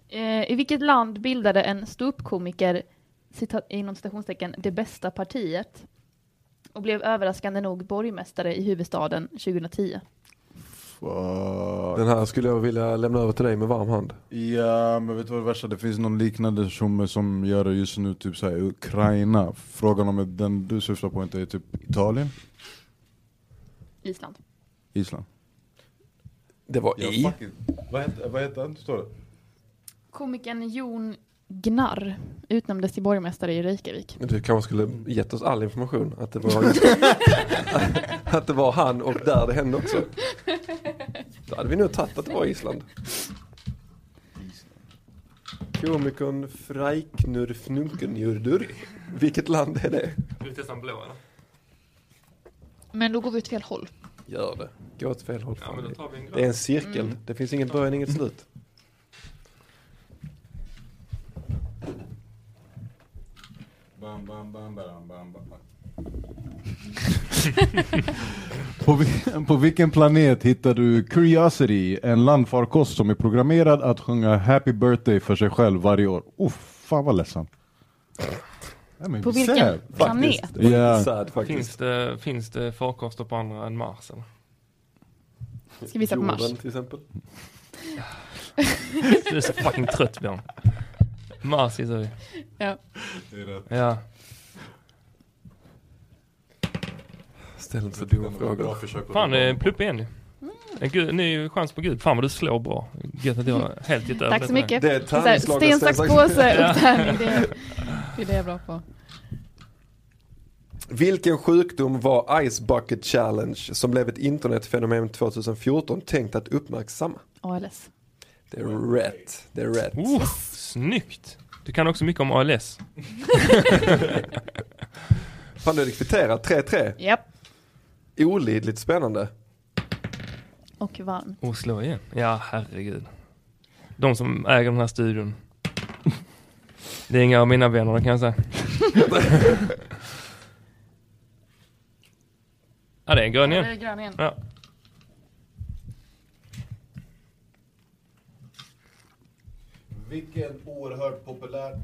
E: Eh, I vilket land bildade en ståuppkomiker, citat, inom citationstecken, det bästa partiet och blev överraskande nog borgmästare i huvudstaden 2010?
D: Fuck. alltså.
A: Den här skulle jag vilja lämna över till dig med varm hand.
D: Ja, men vet du vad det värsta är? Det finns någon liknande som, som gör det just nu, typ såhär Ukraina. Frågan om den du syftar på inte är typ Italien?
E: Island.
D: Island?
A: Det var
D: Ja,
A: i.
D: fucking- Vad heter, vad heter den? Står det?
E: Komikern Jon Gnarr utnämndes till borgmästare i Reykjavik.
A: Du kanske skulle gett oss all information. Att det <laughs> var, att det var han och där det hände också. Då hade vi nog tagit att det var Island. Komikern Freiknur Fnunkenjurdur. Vilket land är det?
C: Vill du testa en blå eller?
E: Men då går vi åt fel håll.
A: Gör det. Gå åt fel håll.
C: Ja men då tar vi Mm. en
A: Det är
C: grön.
A: en cirkel. Det finns ingen början, inget slut.
D: Bam, bam, bam, bam, bam, bam. <laughs> på, vi- på vilken planet hittar du Curiosity, en landfarkost som är programmerad att sjunga Happy birthday för sig själv varje år? Oh, fan vad ledsam. Nej, men
E: På
D: vi ser.
E: vilken
A: Faktiskt.
E: planet?
A: Det var
D: Ja.
A: lite sad faktiskt.
C: Finns det, finns det farkoster på andra än Mars eller?
E: Ska vi gissa på Mars?
A: Jorden, till exempel.
C: Du är så fucking trött Björn. Mars gissar vi.
E: Ja.
C: Ja.
A: Ställ inte så dumma frågor.
C: Fan, eh, plupp igen ju.
E: Mm.
C: En gud, ny chans på gud. Fan vad du slår bra. Gött att jag helt gett över
E: Tack
C: det till
E: så
C: dig.
E: mycket.
A: Det är
E: Så här,
A: tärning, slagen,
E: Sten, sax, påse
C: Ja.
E: och tärning. Det
C: <laughs>
E: är, det är det jag är bra på.
A: Vilken sjukdom var Ice Bucket Challenge som blev ett internetfenomen 2014 tänkt att uppmärksamma?
E: ALS.
A: Det är rätt. Det är rätt.
C: Oh, snyggt! Du kan också mycket om ALS.
A: Fan du hade kvitterat 3-3.
E: Japp.
A: Olidligt spännande.
E: Och varm.
C: Och slå igen. Ja, herregud. De som äger den här studion. Det är inga av mina vänner, det kan jag säga. <laughs> ja, det är en grön igen.
E: grön igen.
C: Ja.
D: Vilken oerhört populär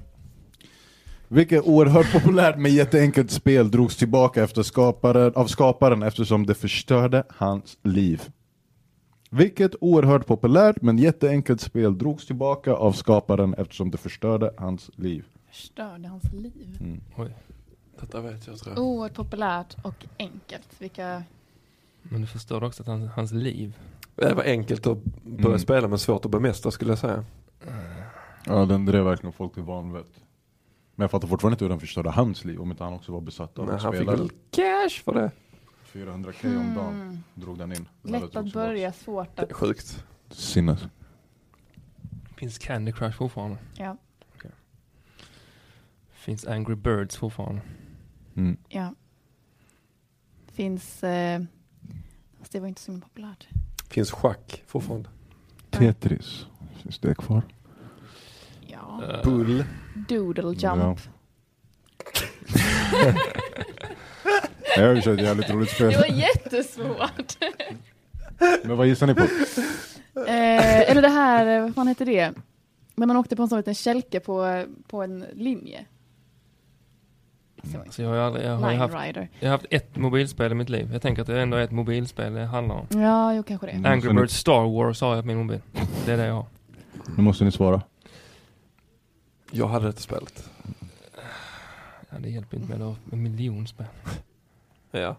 D: Vilket oerhört populärt men jätteenkelt spel drogs tillbaka efter skaparen, av skaparen eftersom det förstörde hans liv. Vilket oerhört populärt men jätteenkelt spel drogs tillbaka av skaparen eftersom det förstörde hans liv.
E: Förstörde hans liv.
C: Oj.
A: Detta vet jag tror jag.
E: Oerhört populärt och enkelt. Vilka...
C: Men du förstörde också att han, hans liv.
A: Det var enkelt att börja
D: Mm.
A: spela men svårt att bemästra skulle jag säga.
D: Ja den drev verkligen folk till vanvett. Men jag fattar fortfarande inte hur den förstörde hans liv om inte han också var besatt av
A: Men
D: att
A: han fick
D: spela.
A: väl cash för det.
D: 400k om dagen drog den in.
E: Mm. Lätt att börja, svårt
A: Det
E: att...
A: är sjukt.
D: Sinnes.
C: Finns Candy Crush fortfarande?
E: Ja.
C: Finns Angry Birds fortfarande?
D: Mm.
E: ja. Finns... Eh... Fast det var inte så himla populärt.
A: Finns schack fortfarande.
D: Tetris. Finns det kvar?
E: Ja.
C: Eh,
A: Bull.
E: Doodle jump.
D: Ja. <laughs> Jag har ju kört ett jävligt roligt spel.
E: Det var jättesvårt.
D: Men vad gissar ni <laughs> på?
E: eh, eller det här, eh, vad fan heter det? När man åkte på en sån liten kälke på, på en linje. Fast det var inte-
C: Så jag har, ju aldrig, jag, har ju
E: Line
C: haft,
E: Rider.
C: jag har haft ett mobilspel i mitt liv. Jag tänker att det ändå är ett mobilspel det handlar om.
E: Ja, jo kanske det.
D: Mm,
C: Angry
D: så nu-
C: Birds Star Wars har jag på min mobil. Det är det jag har.
D: Nu måste ni svara.
A: Jag hade inte spelat.
C: Ja, det hjälper inte med att ha en miljon spel.
A: Ja.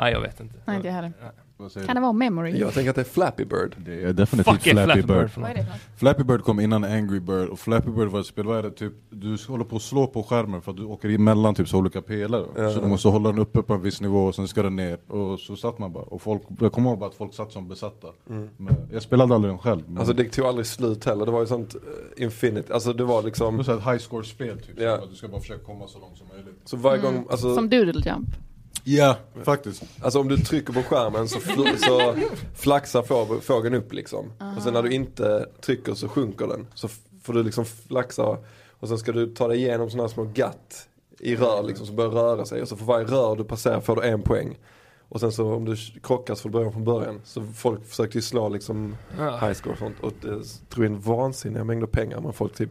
C: Nej, jag vet inte.
E: Nej, inte jag heller.
D: Vad säger
E: Kan det vara Memory?
A: Jag tänker att det är Flappy Bird.
D: Det är definitivt
C: Fuck är
D: Flappy, Bird.
C: för
E: Vad är
C: något?
E: det för något?
D: Flappy Bird kom innan Angry Bird och Flappy Bird var ett spel, vad är det, typ du håller på att slå på skärmen för att du åker emellan typ så olika pelare.
A: Ja.
D: Så du måste hålla den uppe på en viss nivå och sen ska den ner. Och så satt man bara. Och folk, jag kommer ihåg bara att folk satt som besatta. Men jag spelade aldrig den själv. Men
A: Alltså det tog aldrig slut heller. Det var ju sånt eh, infinite. Alltså det var
D: det var
A: liksom.
D: så här ett high score spel typ.
A: Ja.
D: Så att Du ska bara försöka komma så långt som möjligt.
A: Så varje gång, alltså,
E: Som Doodle Jump.
D: Ja, faktiskt.
A: alltså om du trycker på skärmen så, fl- så flaxar få- fågeln upp liksom. Och sen när du inte trycker så sjunker den. Så f- får du liksom flaxa och sen ska du ta dig igenom sådana här små gatt i rör liksom som börjar röra sig. Och så för varje rör du passerar får du en poäng. Och sen så om du krockar så får du börja om från början. Så folk försökte ju slå liksom
C: Ja.
A: high score och sånt. Och det drog in vansinniga mängder pengar. Men folk typ,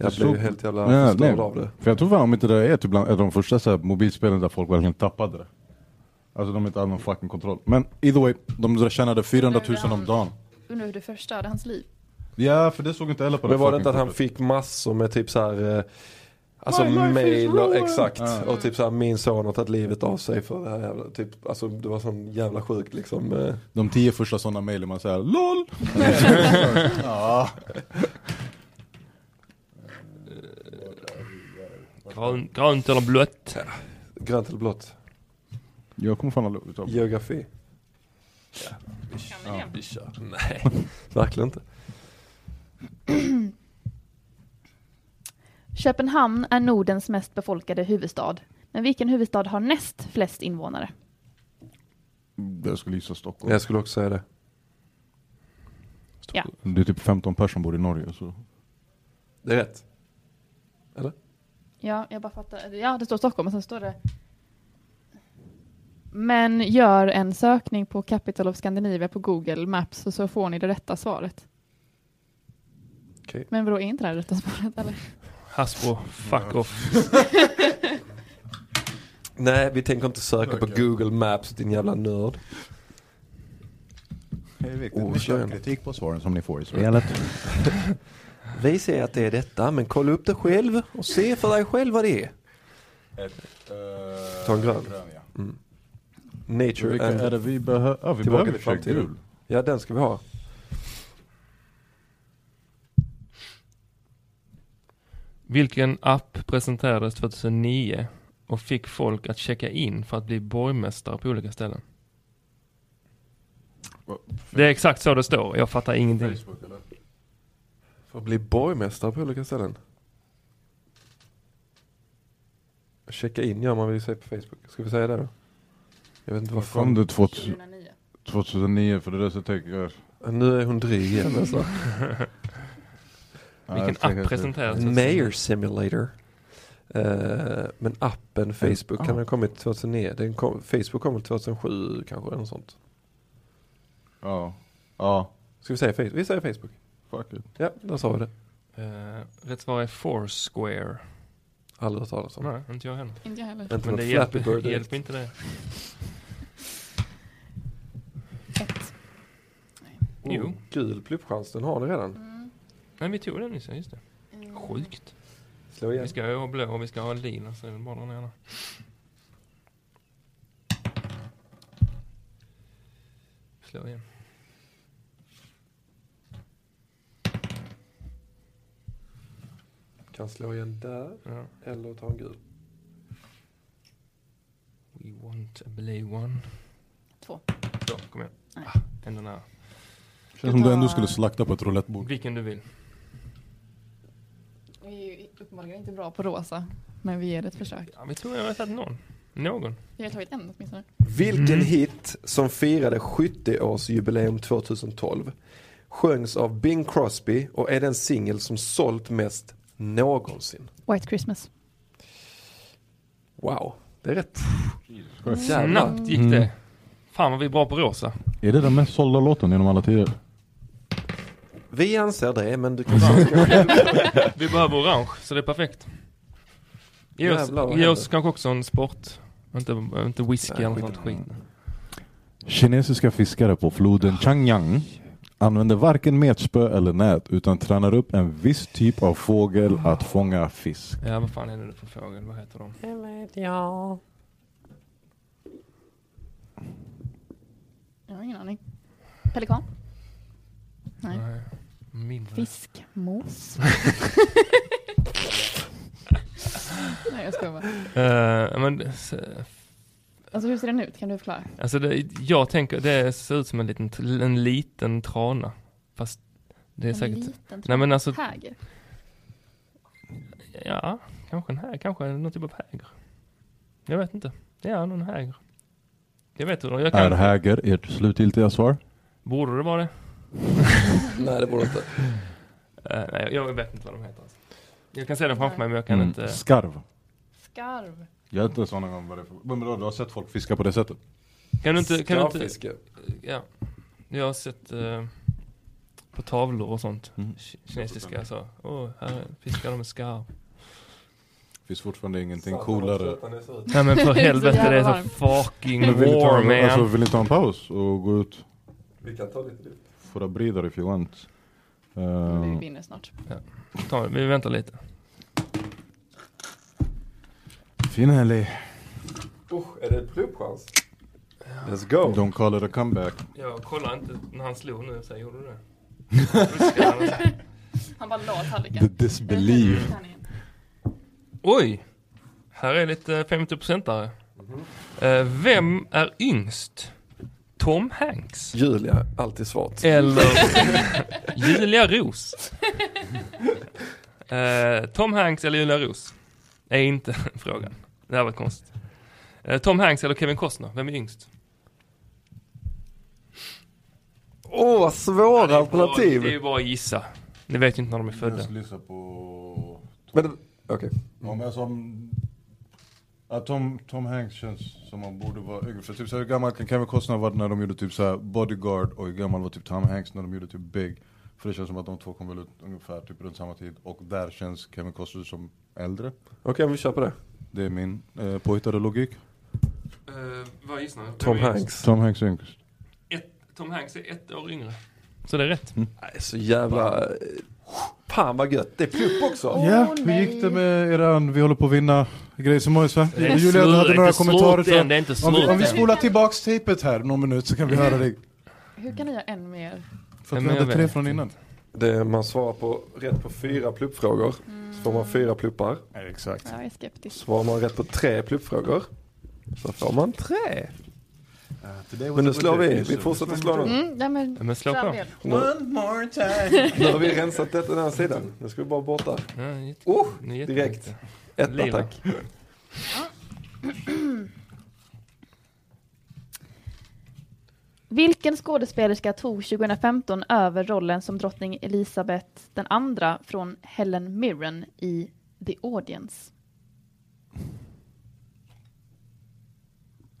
A: jag
D: Det
A: blev ju
D: slog-
A: helt jävla
D: Ja,
A: förstörd
D: nej.
A: av det.
D: För jag tror fan om inte det är typ bland ett av de första så här, mobilspelen där folk verkligen tappade det. Alltså de inte hade någon fucking kontroll. Men either way, de tjänade 400 000 om dagen.
E: Undrar hur det förstörde hans liv.
D: Ja, för det såg inte heller på
A: Men
D: det
A: var det inte att
D: fucking
A: han fick massor med typ så här eh, Alltså
D: My life is
A: mail och
D: ruined.
A: exakt.
D: Ja.
A: Och typ såhär min son har tagit livet av sig för det här jävla, typ, alltså det var sån jävla sjukt liksom. eh.
D: De tio första sådana mejlen man säger LOL! ja.
C: Grönt, grönt eller blött?
A: Grönt eller blått?
D: Jag kommer fan aldrig utav
A: Geografi?
E: Ja.
A: Vi kör. Nej, <laughs> verkligen inte.
E: Köpenhamn är Nordens mest befolkade huvudstad. Men vilken huvudstad har näst flest invånare?
D: Jag skulle gissa Stockholm.
A: Jag skulle också säga det.
E: Ja.
D: Det är typ 15 personer som bor i Norge så.
A: Det är rätt.
E: Ja, jag bara fattar. Ja, det står Stockholm och sen står det... Men gör en sökning på Capital of Scandinavia på Google Maps och så får ni det rätta svaret.
A: Okej.
E: Men vadå, är inte det här det rätta svaret eller?
C: Hasbro, fuck off.
A: Nej, vi tänker inte söka på
D: Okej.
A: Google Maps din jävla nörd.
D: Det är viktigt.
A: Oh, Ni kör en.
D: kritik på svaren som ni får i spelet.
A: <laughs> Vi säger att det är detta, men kolla upp det själv och se för dig själv vad det är. Ta en grön.
D: Eh, ja.
A: Nature
D: Vilka
A: and
D: är det vi behöver? Ja, vi
A: Tillbaka
D: behöver
A: till
D: köra
A: framtiden.
D: gul.
A: Ja, den ska vi ha.
C: Vilken app presenterades 2009 och fick folk att checka in för att bli borgmästare på olika ställen? Det är exakt så det står. Jag fattar ingenting.
D: Facebook eller?
A: För att bli borgmästare på olika ställen. Checka in gör man väl i sig på Facebook. Ska vi säga det då? Jag vet inte vad
D: Kom
A: fan.
D: det 2000 2009 för det där så tänker jag.
A: Nu är hon dryg igen alltså.
D: Ja, jag
C: Vilken
D: tänker
C: app
D: att-
C: presenterades?
A: Mayor Simulator. Eh, men appen Facebook kan
D: app.
A: ha kommit 2009. Den kom, Facebook kom väl 2007 kanske eller något sånt.
D: Ja. Ja.
A: Ska vi säga Facebook? Vi säger Facebook.
D: Fuck it.
A: Ja, där sa vi det.
C: Eh, rätt svar är Foursquare.
A: Aldrig hört talas om.
C: Nej, inte jag heller.
E: Inte jag heller.
A: Inte
C: Men
A: något
C: det
A: Flappy
C: hjälper,
A: Bird.
C: hjälper inte det.
E: Ett.
C: Jo.
A: Gul pluppchans, den har ni redan.
E: Mm.
C: Nej, vi tog den nyss, ja, just det. Sjukt.
A: Slå igen.
C: Vi ska ha blå och vi ska ha lila, så det är bara den ena. Slå igen.
A: Kan slå igen där
C: Ja.
A: eller ta en gul.
C: We want a blue one.
E: Två.
C: Så, kom igen.
E: Nej.
C: Ah, ändå nära.
D: Känns som du ändå
E: tar-
D: skulle slakta på ett roulettebord.
C: Vilken du vill.
E: Vi är ju uppenbarligen inte bra på rosa, men vi ger det ett försök.
C: Ja, vi tror jag har tagit någon. Någon.
E: Vi har tagit en åtminstone.
A: Vilken
C: Mm.
A: hit som firade 70-årsjubileum 2012 sjöngs av Bing Crosby och är den singel som sålt mest någonsin.
E: White Christmas.
A: Wow, det är rätt.
D: Chef.
A: Jävlar.
C: Snabbt gick
D: Mm.
C: det. Fan vad vi är bra på rosa.
D: Är det den mest sålda låten genom alla tider?
A: Vi anser det, men du
C: Mm.
A: kan säga
C: Vi behöver orange, så det är perfekt. Ge oss,
A: Jävlar, vad
C: ge
A: händer?
C: oss kanske också en sport. Inte, inte whisky
A: Nej,
C: eller något
A: skit.
C: sånt skit.
D: Kinesiska fiskare på floden Changyang använder varken metspö eller nät utan tränar upp en viss typ av fågel att fånga fisk.
C: Ja, vad fan är det för fågel? Vad heter de?
F: Det vet jag.
E: Jag har ingen aning. Pelikan? Nej.
C: Mindre.
E: Fiskmås? Nej, jag skojar bara.
C: Eh, men, s-
E: Alltså hur ser den ut? Kan du förklara?
C: alltså det, jag tänker, det ser ut som en liten, tr- en liten trana. Fast det är
E: En
C: säkert...
E: liten
C: Nej men alltså,
E: Häger?
C: ja, kanske en häger, kanske någon typ av häger. Jag vet inte. Ja, någon häger. Jag vet hur de, jag
D: Är
C: kan,
D: häger ert slutgiltiga svar?
C: borde det vara det?
A: Nej, det borde inte.
C: Eh, nej, jag vet inte vad de heter. Alltså. Jag kan se den framför mig, men jag kan inte...
D: Mm. Skarv.
E: Skarv?
D: Jag har inte ens aning om vad det är för... Men vadå, du har sett folk fiska på det sättet?
C: Kan du inte... Kan du inte
A: Skarvfiske.
C: ja. Jag har sett eh, på tavlor och sånt.
D: Mm.
C: ki- Kinesiska, så. Åh, här fiskar de med skarv.
D: Finns fortfarande ingenting coolare.
C: Nej men för
E: <laughs> Det är så
C: helvete, det är
E: jävla
C: så fucking
D: Men vill ni ta,
C: war
D: en- alltså,
C: man.
D: vill ni ta en paus och gå ut?
A: Vi kan ta lite till.
D: För att brida if you want.
E: Vi
D: Ehm,
E: vinner snart.
C: Ta, vi väntar lite.
D: finally.
A: Usch, är det pluppchans? Let's go.
D: Don't call it a comeback.
C: Jag kollar inte när han slog nu, så gjorde du det?
D: <laughs>
E: Han bara la
D: The
E: tallriken.
D: disbelief.
C: Oj! Här är lite 50-procentare.
D: Mhm.
C: Eh, vem är yngst? Tom Hanks?
A: Julia, alltid svart.
D: <laughs>
C: Eller Julia Ros. Eh, Tom Hanks eller Julia Ros? Är inte <laughs> frågan. Det här var konstigt. Eh, Tom Hanks eller Kevin Costner? Vem är yngst?
A: Åh, vad svåra alternativ.
C: Det är ju bara att gissa. Ni vet ju inte när de är födda.
D: lyssna på...
A: Men, okej.
D: Ja, men alltså, om- ja, Tom, Tom Hanks känns som han borde vara yngre. För typ så här, hur gammal kan Kevin Costner ha varit när de gjorde typ så här Bodyguard och hur gammal var typ Tom Hanks när de gjorde typ Big? För det känns som att de två kom väl ut ungefär typ runt samma tid och där känns Kevin Costner som äldre.
A: Okej, men vi kör på det.
D: Det är min eh, påhittade logik.
C: Eh, vad gissar ni?
A: Tom Hanks.
D: Tom Hanks är yngst.
C: Tom Hanks är ett år yngre. Så det är rätt.
A: Nej, så jävla... Fan vad gött, det är plupp också.
D: Ja, hur gick det med eran vi håller på att vinna grej som var så
C: Det är
D: här? Julia, du hade
C: slut,
D: några
C: inte slut
D: kommentarer. så-
C: än, det är inte
D: Om vi, om vi
C: slut än.
D: spolar tillbaks tejpet här någon minut så kan vi höra dig.
E: Hur kan ni göra en mer?
D: För
C: Nej,
D: att
C: men
D: vi
C: jag
D: hade tre
C: vet
D: från innan.
A: Det, man svarar på, rätt på fyra pluppfrågor så får man fyra pluppar.
D: Exakt.
E: Jag är skeptisk.
A: Svarar man rätt på tre pluppfrågor så får man tre.
D: Today was
A: Men nu
D: a good
A: slår
D: day.
A: vi, vi fortsätter slå nu.
E: Mm, nej men,
C: Men slå på.
E: Samuel.
A: Nu,
F: more time.
A: nu har vi rensat detta den här sidan. Nu ska vi bara borta.
C: Ja, jätte-
A: Oh,
C: ni är
A: direkt.
C: jätteduktiga.
A: etta
C: Lila.
A: tack.
E: Vilken skådespelerska tog 2015 över rollen som drottning Elisabeth den andra från Helen Mirren i The Audience?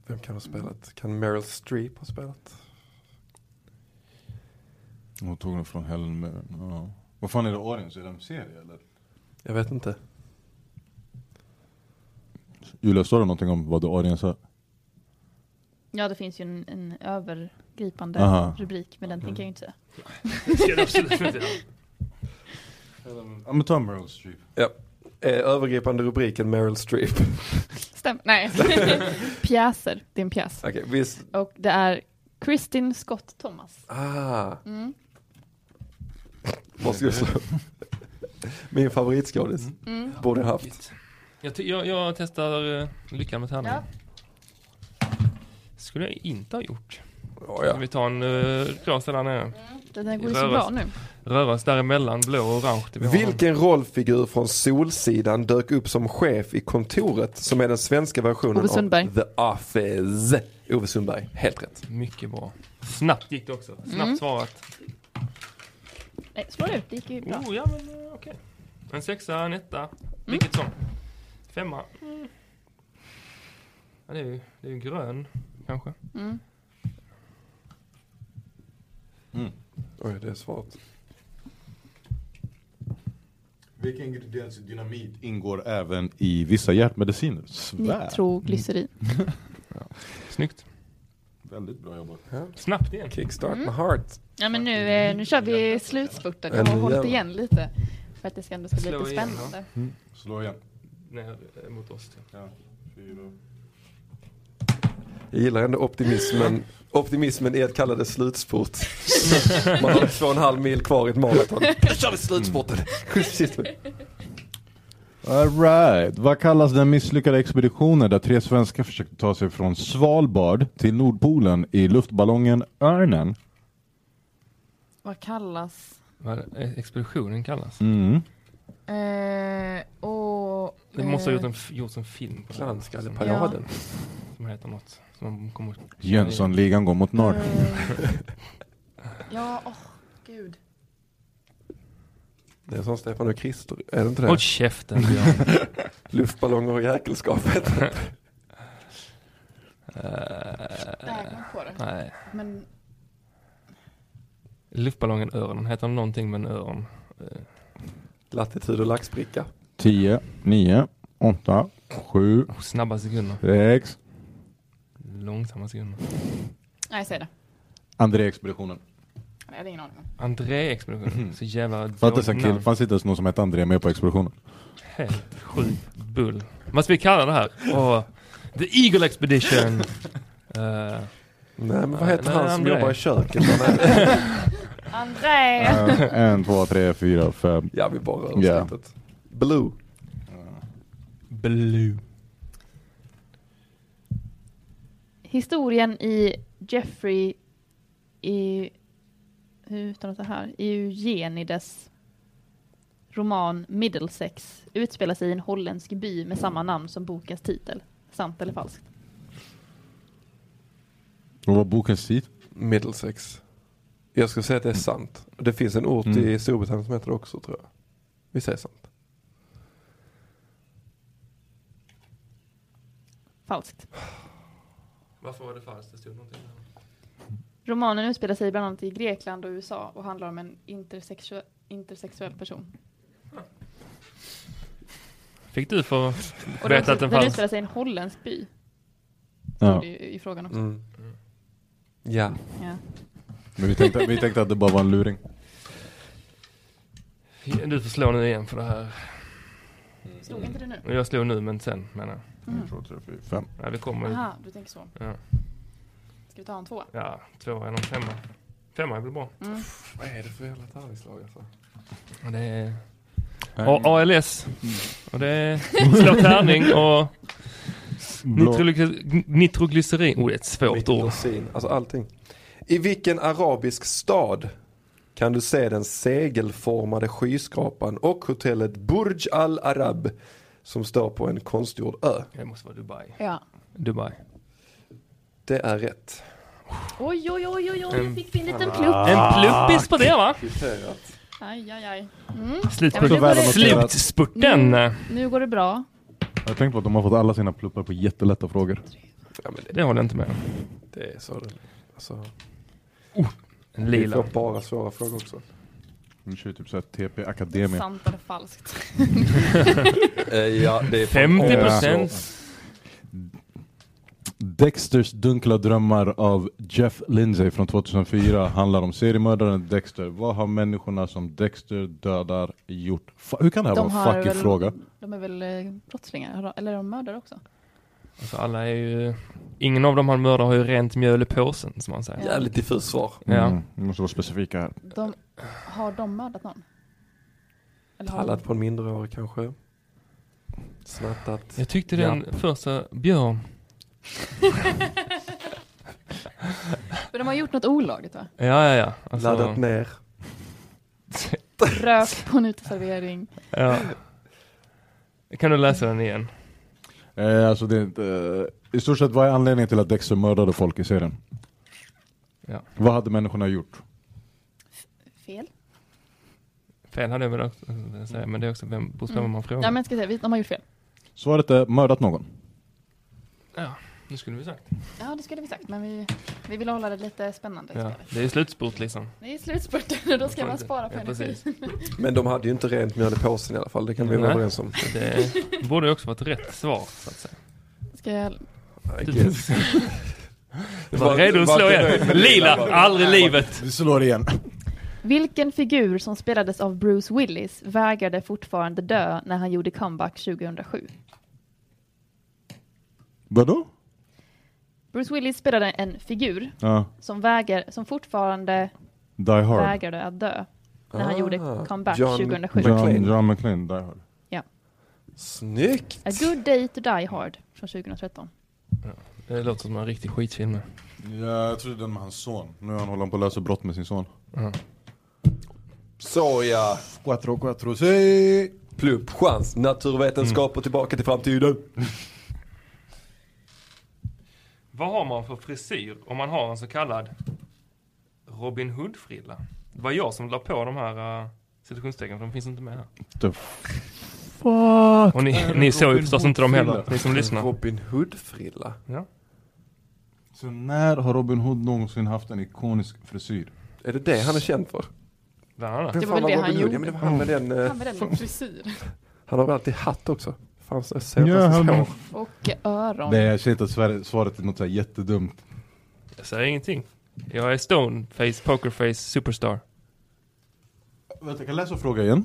A: Vem kan ha spelat? Kan Meryl Streep ha spelat?
D: Hon tog den från Helen Mirren. Ja. Vad fan är det Orange? Är det en serie eller?
A: Jag vet inte.
D: Julia, står det någonting om vad The Orange är?
E: Ja, det finns ju en, en övergripande
D: Aha.
E: rubrik, men den
C: Mm.
E: tänker jag ju inte säga.
C: Ska du absolut inte ha.
D: Ja men ta Meryl Streep.
A: Eh, övergripande rubriken Meryl Streep. <laughs>
E: Stäm, nej. <laughs> Pjäser, det är en pjäs.
A: Okej, visst.
E: Och det är Kristin Scott Thomas.
A: Ah,
E: Mm.
A: måste jag
E: <laughs>
A: slå. Min favoritskådis.
E: Mm.
A: Borde jag haft.
C: Jag, ty- jag, jag testar uh, lyckan med tärningen.
E: Ja.
C: Skulle jag inte ha gjort.
A: Ja,
C: Ska
A: ja.
C: vi ta en uh, rosa där nere?
E: Den här går ju så bra nu.
C: Röras däremellan, blå och orange. Det vi har.
A: Vilken rollfigur från Solsidan dök upp som chef i kontoret som är den svenska versionen
E: Ove Sundberg.
A: av The Office? Ove Sundberg, helt rätt.
C: Mycket bra. Snabbt gick det också. Snabbt
E: Mm.
C: svarat.
E: Nej, slå det ut, det gick ju bra.
C: Oh, ja, men eh, okej. Mm. En sexa, en etta. Vilket som. Femma. Mm. Ja, det är ju det är ju grön, kanske.
E: Mm.
A: Oj, det är svårt.
D: Vilken ingrediens i dynamit ingår även i vissa hjärtmediciner? Svär.
E: Nitroglycerin.
C: Snyggt.
D: Väldigt bra jobbat.
C: Snabbt igen.
A: Kickstart my heart.
E: Ja, men nu, eh, nu kör vi slutspurten. Jag har
A: Eller
E: hållit
A: jävlar.
E: igen lite. För att det ska ändå ska bli
C: Slå
E: lite
C: igen,
E: spännande.
D: Slå igen.
C: Ner eh, mot oss. till.
D: Ja. Fyra.
A: Jag gillar ändå optimismen. Optimismen i att kalla det slutspurt. Man har två och en halv mil kvar i ett maraton. Mm. Nu kör vi slutspurten! <laughs> Shit.
D: Alright, vad kallas den misslyckade expeditionen där tre svenskar försökte ta sig från Svalbard till Nordpolen i luftballongen Örnen?
E: Vad kallas?
C: Vad är det? Expeditionen kallas.
D: Mm.
E: Eh, och, eh,
C: Det måste ha gjort en, f- gjorts en film på det. här, som,
A: Landskallepajaden.
C: som heter något. Som man kommer...
D: Jönssonligan går mot norr.
E: <laughs> ja, åh gud.
A: Det är som Stefan och Christer, är det inte det?
C: Håll käften Björn. <laughs>
A: Luftballonger och jäkelskapet. <laughs>
E: Det här kom på det.
C: Nej.
E: Men
C: Luftballongen Örn. Heter den någonting med en örn?
A: Latitud och laxbricka.
D: 10, 9, 8, 7,
C: Oh, snabba sekunder.
D: 6.
C: Långsamma sekunder.
E: nej, säg det.
D: André-expeditionen.
E: Jag hade ingen aning om.
C: André-expeditionen. Så jävla
D: Fattas en
C: dåligt
D: kille,
C: namn.
D: fanns inte ens någon som hette André med på <laughs> expeditionen.
C: Helt sjukt bull. Vad ska vi kalla det här? Åh, The Eagle <laughs> Expedition. Eh,
A: Nej men vad
C: Nej,
A: heter
C: nej,
A: han som
C: André.
A: jobbar i köket? Han är-
E: André!
D: Eh, En, två, tre, fyra, fem.
A: ja vi bara rör
D: Ja.
A: oss litet. Blue.
C: Blue.
E: Historien i Jeffrey i hur uttalas det här? Eugenides roman Middlesex utspelar sig i en holländsk by med samma namn som bokens titel. Sant eller falskt?
D: Och vad bokens tid?
A: Middlesex. Jag skulle säga att det är sant. Det finns en ort
D: Mm.
A: i Storbritannien som heter det också tror jag. Vi säger sant.
E: Falskt.
C: Varför var det falskt? Det stod någonting där.
E: Romanen utspelar sig bland annat i Grekland och USA och handlar om en intersexu- intersexuell person.
C: Fick du för...
E: Och
C: Vet
E: den,
C: att den
E: den
C: fanns.
E: utspelar sig i en holländsk by.
D: Ja.
E: Ja. I, i frågan också.
A: Mm. Ja.
C: Mm.
E: Ja.
D: Men vi tänkte, vi tänkte att det bara var en luring.
C: Du får slå nu igen för det här.
E: Stod inte det nu?
C: Jag slår nu men sen menar jag.
E: Mm.
D: En, två, tre, fyra, fem.
C: Ja, det kommer ju.
E: Aha, du tänker så.
C: Ja.
E: Ska vi ta en tvåa?
C: Ja, två genom femma. Femma är väl bra.
E: Mm.
A: Vad är det för jävla tärningslag alltså?
C: Och det är Mm. A- ALS. Och det är slå tärning och
D: Blå.
C: nitrogly- nitroglycerin. Oh, det är ett svårt ord.
A: Mikrosin, alltså allting. I vilken arabisk stad kan du se den segelformade skyskrapan och hotellet Burj Al Arab som står på en konstgjord ö?
C: Det måste vara Dubai.
E: Ja.
C: Dubai.
A: Det är rätt.
E: Oj, oj, oj, oj, oj,
C: En-
E: nu fick vi en liten plupp.
C: En pluppis på det va?
E: Aj, aj, aj.
D: Så väl
C: Slutspurten.
D: noterat.
C: Slutspurten.
E: Nu går det bra.
D: Jag tänkte på att de har fått alla sina pluppar på jättelätta frågor.
A: Ja, men det,
C: Det håller jag inte med om.
A: det är så det alltså,
C: En
A: Vi
C: lila.
A: får bara svåra frågor också.
D: Hon kör typ såhär TP Akademia.
E: Sant eller falskt?
A: Eh, ja, det är från
C: 50
A: Oslo.
C: procent.
D: Dexters dunkla drömmar av Jeff Lindsay från 2004 handlar om seriemördaren Dexter. Vad har människorna som Dexter dödar gjort? Fa- Hur kan det här
E: De
D: vara
E: har
D: en fucking
E: väl-
D: fråga?
E: De är väl eh, brottslingar? Har de- Eller är de mördare också?
C: Alltså alla är ju... Ingen av de här mördare har ju rent mjöl i påsen som man säger.
E: Ja.
A: Jävligt diffust svar.
C: Ja.
D: Mm, vi måste vara specifika här.
E: De, har de mördat någon? Eller har de,
A: Tallat på en minderårig kanske. Snattat.
C: Jag tyckte den första Björn,
E: men de har gjort något olagligt va?
C: ja ja ja. Alltså,
A: Laddat ner.
E: Rökt på en uteservering.
C: ja. Kan du läsa den igen?
D: Eh, alltså det är inte, eh, I stort sett, vad är anledningen till att Dexter mördade folk i serien?
C: Ja.
D: Vad hade människorna gjort?
E: Fel?
C: Fel hade jag väl också eh, säga, men det är också vem, beroende på vem man frågar.
E: Mm. Ja men jag ska säga, vi- de har gjort fel.
D: Svaret är mördat någon.
C: Nu skulle vi sagt.
E: Ja det skulle vi sagt men vi, vi vill hålla det lite spännande.
C: Ja.
E: Ja.
C: Det är ju slutspurt liksom.
E: Det är slutspurten och då ska
C: får
E: man
C: inte-
E: spara på
C: ja,
E: energi.
C: precis.
A: Men de hade ju inte rent mjöl i påsen i alla fall, det kan vi vara
C: Nej.
A: överens
C: <laughs>
A: om.
C: Det borde ju också varit rätt svar så att säga.
E: <laughs> Ska jag,
A: Gud.
C: Var redo att slå
A: inte nöjd
C: igen.
A: med
C: Lila,
A: bara.
C: aldrig i livet.
D: Vi slår igen.
E: Vilken figur som spelades av Bruce Willis vägrade fortfarande dö när han gjorde comeback 2007?
D: Vadå?
E: Bruce Willis spelade en figur
D: Ja,
E: som, väger, som fortfarande
D: Die Hard.
E: vägrade att dö när han gjorde comeback
A: John-
E: 2007.
D: John,
A: McClane.
D: John McClane, Die Hard.
A: Snyggt!
E: A Good Day to Die Hard från 2013.
C: Det låter som en riktig skitfilm.
D: Ja, jag trodde den med hans son. Nu håller han på att lösa brott med sin son.
A: Så ja,
D: Quattro, quattro, si!
A: plupp, chans, naturvetenskap
C: Mm.
A: och tillbaka till framtiden.
C: Vad har man för frisyr om man har en så kallad Robin Hood-frilla? Det var jag som la på de här uh, citationstecknen, för de finns inte med här.
D: The
C: fuck? Och ni, ni såg ju
D: Robin
C: förstås inte dem heller,
D: Hood-frilla?
C: ni som lyssnar.
A: Robin Hood-frilla.
C: Ja.
D: Så när har Robin Hood någonsin haft en ikonisk frisyr?
A: Är det det han är känd för?
C: Bland annat.
A: Vem
E: Det var
A: fan
E: väl det
A: Robin
E: han
A: Hood?
E: gjorde. Mm.
A: Ja, men det var han med den, eh,
E: Han med den frisyr.
A: han har väl alltid hatt också? Fanns det ser
D: Ja, han-
A: hår?
E: Och öron.
D: Nej, jag ser inte att Sverige- svaret är något så här jättedumt.
C: Jag säger ingenting. Jag är stoneface, pokerface, superstar.
D: Vänta, jag kan läsa frågan igen.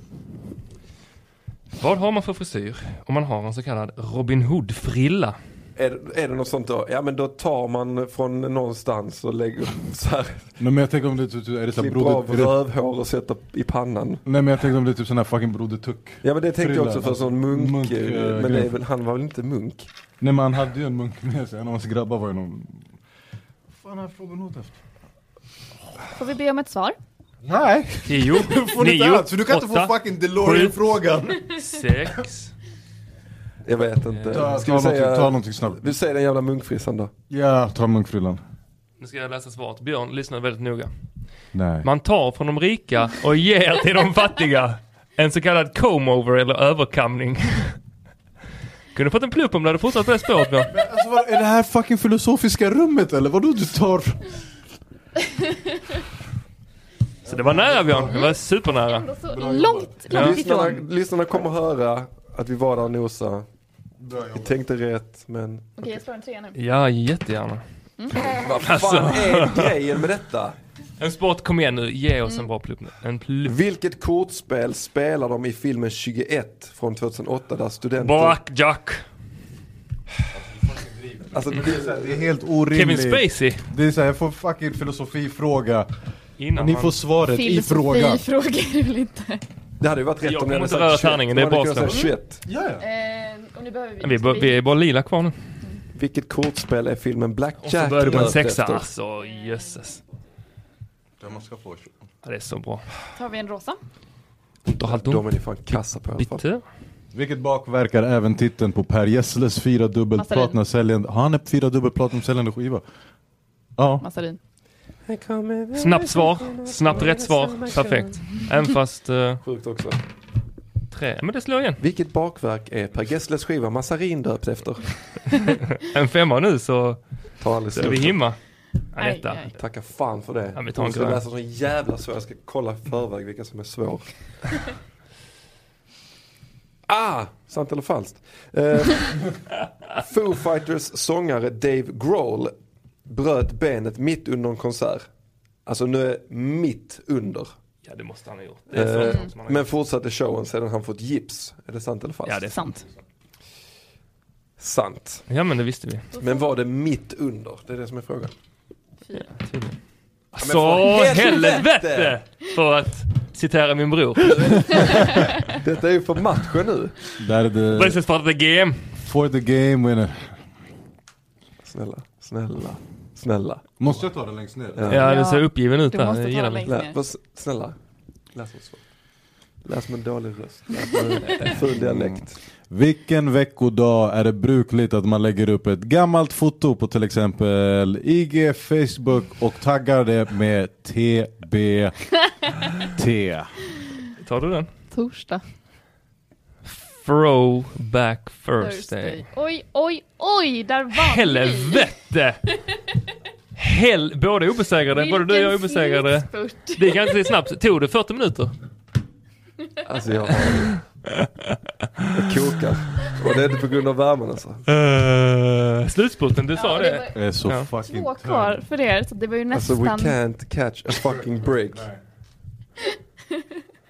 C: Vad har man för frisyr om man har en så kallad Robin Hood-frilla?
A: Är, är det något sånt då? Ja men då tar man från någonstans och lägger så
D: <laughs>
A: här,
D: Nej, men jag tänker om det är typ, är det så här
A: klipper av
D: broder... Är det,
A: rövhår och sätter i pannan.
D: nej, men jag tänker om det är typ sån här fucking broder Tuck.
A: Ja men det tänkte jag
D: Frilla,
A: också för
D: alltså,
A: sån munk,
D: munk,
A: eh, men
D: eh,
A: det är
D: grej.
A: väl, han var väl inte munk?
D: Nej, men han hade ju en munk med sig. En av hans grabbar var ju någon... Vad fan har Robin Hood haft?
E: Får vi be om ett svar?
D: Nej!
C: 10,
D: <laughs> Får inte
C: 9,
D: alls, för du kan inte
C: 8,
D: få fucking DeLorean-frågan!
C: 6.
A: Jag vet inte.
D: Ta,
A: Ska vi
D: någonting, ta
A: säga,
D: någonting snabbt.
A: vi säger den jävla munkfrissan då.
D: Ja, ta munkfrillan.
C: Nu ska jag läsa svaret. Björn, lyssna väldigt noga.
D: Nej.
C: Man tar från de rika och ger till de fattiga. En så kallad comb-over eller överkamning. Kunde fått en plupp om du hade fortsatt på det spåret Björn.
D: Alltså, vad, är det här fucking filosofiska rummet eller? Vadå du tar...
C: Så det var nära Björn, det var supernära.
E: Ändå så långt,
C: Ja.
E: långt
A: Lyssnarna,
E: ifrån.
A: lyssnarna kommer höra att vi var där och nosade. Vi tänkte rätt men
E: Okej, jag slår en trea nu.
C: Ja, jättegärna.
A: Vad fan
D: Alltså.
A: är grejen med detta?
C: En sport, kom igen nu, ge oss en bra plupp nu. En plupp.
A: Vilket kortspel spelar de i filmen 21 från 2008 där studenter...
C: Blackjack.
A: Alltså, det är så här, det
D: Det är
A: är-
D: helt orimligt.
C: Kevin Spacey.
D: Det är såhär, jag får fucking filosofifråga.
C: Innan
D: Ni
C: man-
D: får svaret i frågan.
E: <laughs> frågar du väl inte?
A: det hade ju varit rätt
C: Jag
A: om ni
C: kommer
A: hade
C: inte röra
A: sagt 21.
C: tärningen,
A: De
C: det är
A: hade
C: bra
A: kunnat
C: slag.
A: säga 21.
D: Ja, ja.
E: Eh, och nu behöver vi...
C: Vi, är bara- vi är bara lila kvar nu.
A: Vilket kortspel är filmen
C: Och så
A: Blackjack
C: började på en
A: döpt
C: sexa.
A: efter?
C: Alltså jösses. Ja, det är så bra.
E: Tar vi en rosa?
C: Inte halt
A: De
C: ont.
A: är ni fan kassa på i alla fall.
C: Bitte.
D: Vilket bakverkar även titeln på Per Gessles fyra dubbelplatinasäljande... Har han en fyra dubbelplatinumsäljande skiva? Ja.
E: Massarin.
C: Snabbt svar. Snabbt rätt svar. Perfekt. Även fast eh,
A: Sjukt också.
C: tre. Men det slår igen.
A: Vilket bakverk är Per Gessles skiva Massarin döpt efter?
C: En femma nu så
A: Tar aldrig
C: ska vi
A: slut.
C: himma. Ja, detta.
E: Aj, aj.
A: Tacka fan för det.
C: Ja, vi tar en
A: jag ska
C: grön.
A: läsa så jävla svår. Jag ska kolla i förväg vilka som är
C: <laughs>
A: svår. ah! Sant eller falskt? Eh, Foo Fighters sångare Dave Grohl bröt benet mitt under en konsert. Alltså nu är mitt under.
C: Ja, det måste han ha gjort. Det är sånt
A: Eh,
C: som han har
A: men
C: gjort.
A: fortsatte showen sedan han fått gips. Är det sant eller falskt?
C: Ja, det är
E: Sant.
A: Sant.
C: Ja, men det visste vi.
A: Men var det mitt under? Det är det som är
C: <laughs>
A: frågan.
C: Tydligen.
A: men
C: Så
A: för
C: helvete! För att citera min bror.
A: Detta är ju för matchen nu.
D: Där är det...
C: Precis för att det är game.
D: For the game winner.
A: Snälla, snälla, snälla.
D: Måste jag ta det längst ner?
A: Ja.
C: Ja, du ser uppgiven ut
E: Du
C: där.
E: måste
C: Det
E: ta
C: gillar
E: den
C: vi.
E: längst.
A: Lä,
E: ner.
A: vad, s- snälla, läs oss. Läs med dålig röst. Läs med <laughs> en ful dialekt.
D: Vilken veckodag är det brukligt att man lägger upp ett gammalt foto på till exempel IG, Facebook och taggar det med TBT?
C: Tar du den?
E: Torsdag.
C: Throwback Thursday.
E: Thursday. Oj, oj, oj! Där vann vi!
C: Helvete! Hel båda är obesegrade. Både du och jag är
E: Vilken
C: obesegrade.
E: slutspurt.
C: Det gick ganska snabbt. Tog det 40 minuter?
A: Alltså jag har... Jag kokar. Och det är inte på grund av värmen alltså.
C: Uh, slutspurten, du sa
E: Ja,
C: det.
E: det
D: Jag är så
C: Ja.
E: var
D: fucking
E: två kvar för er, så det var ju
A: Alltså we
E: nästan...
A: can't catch a fucking break.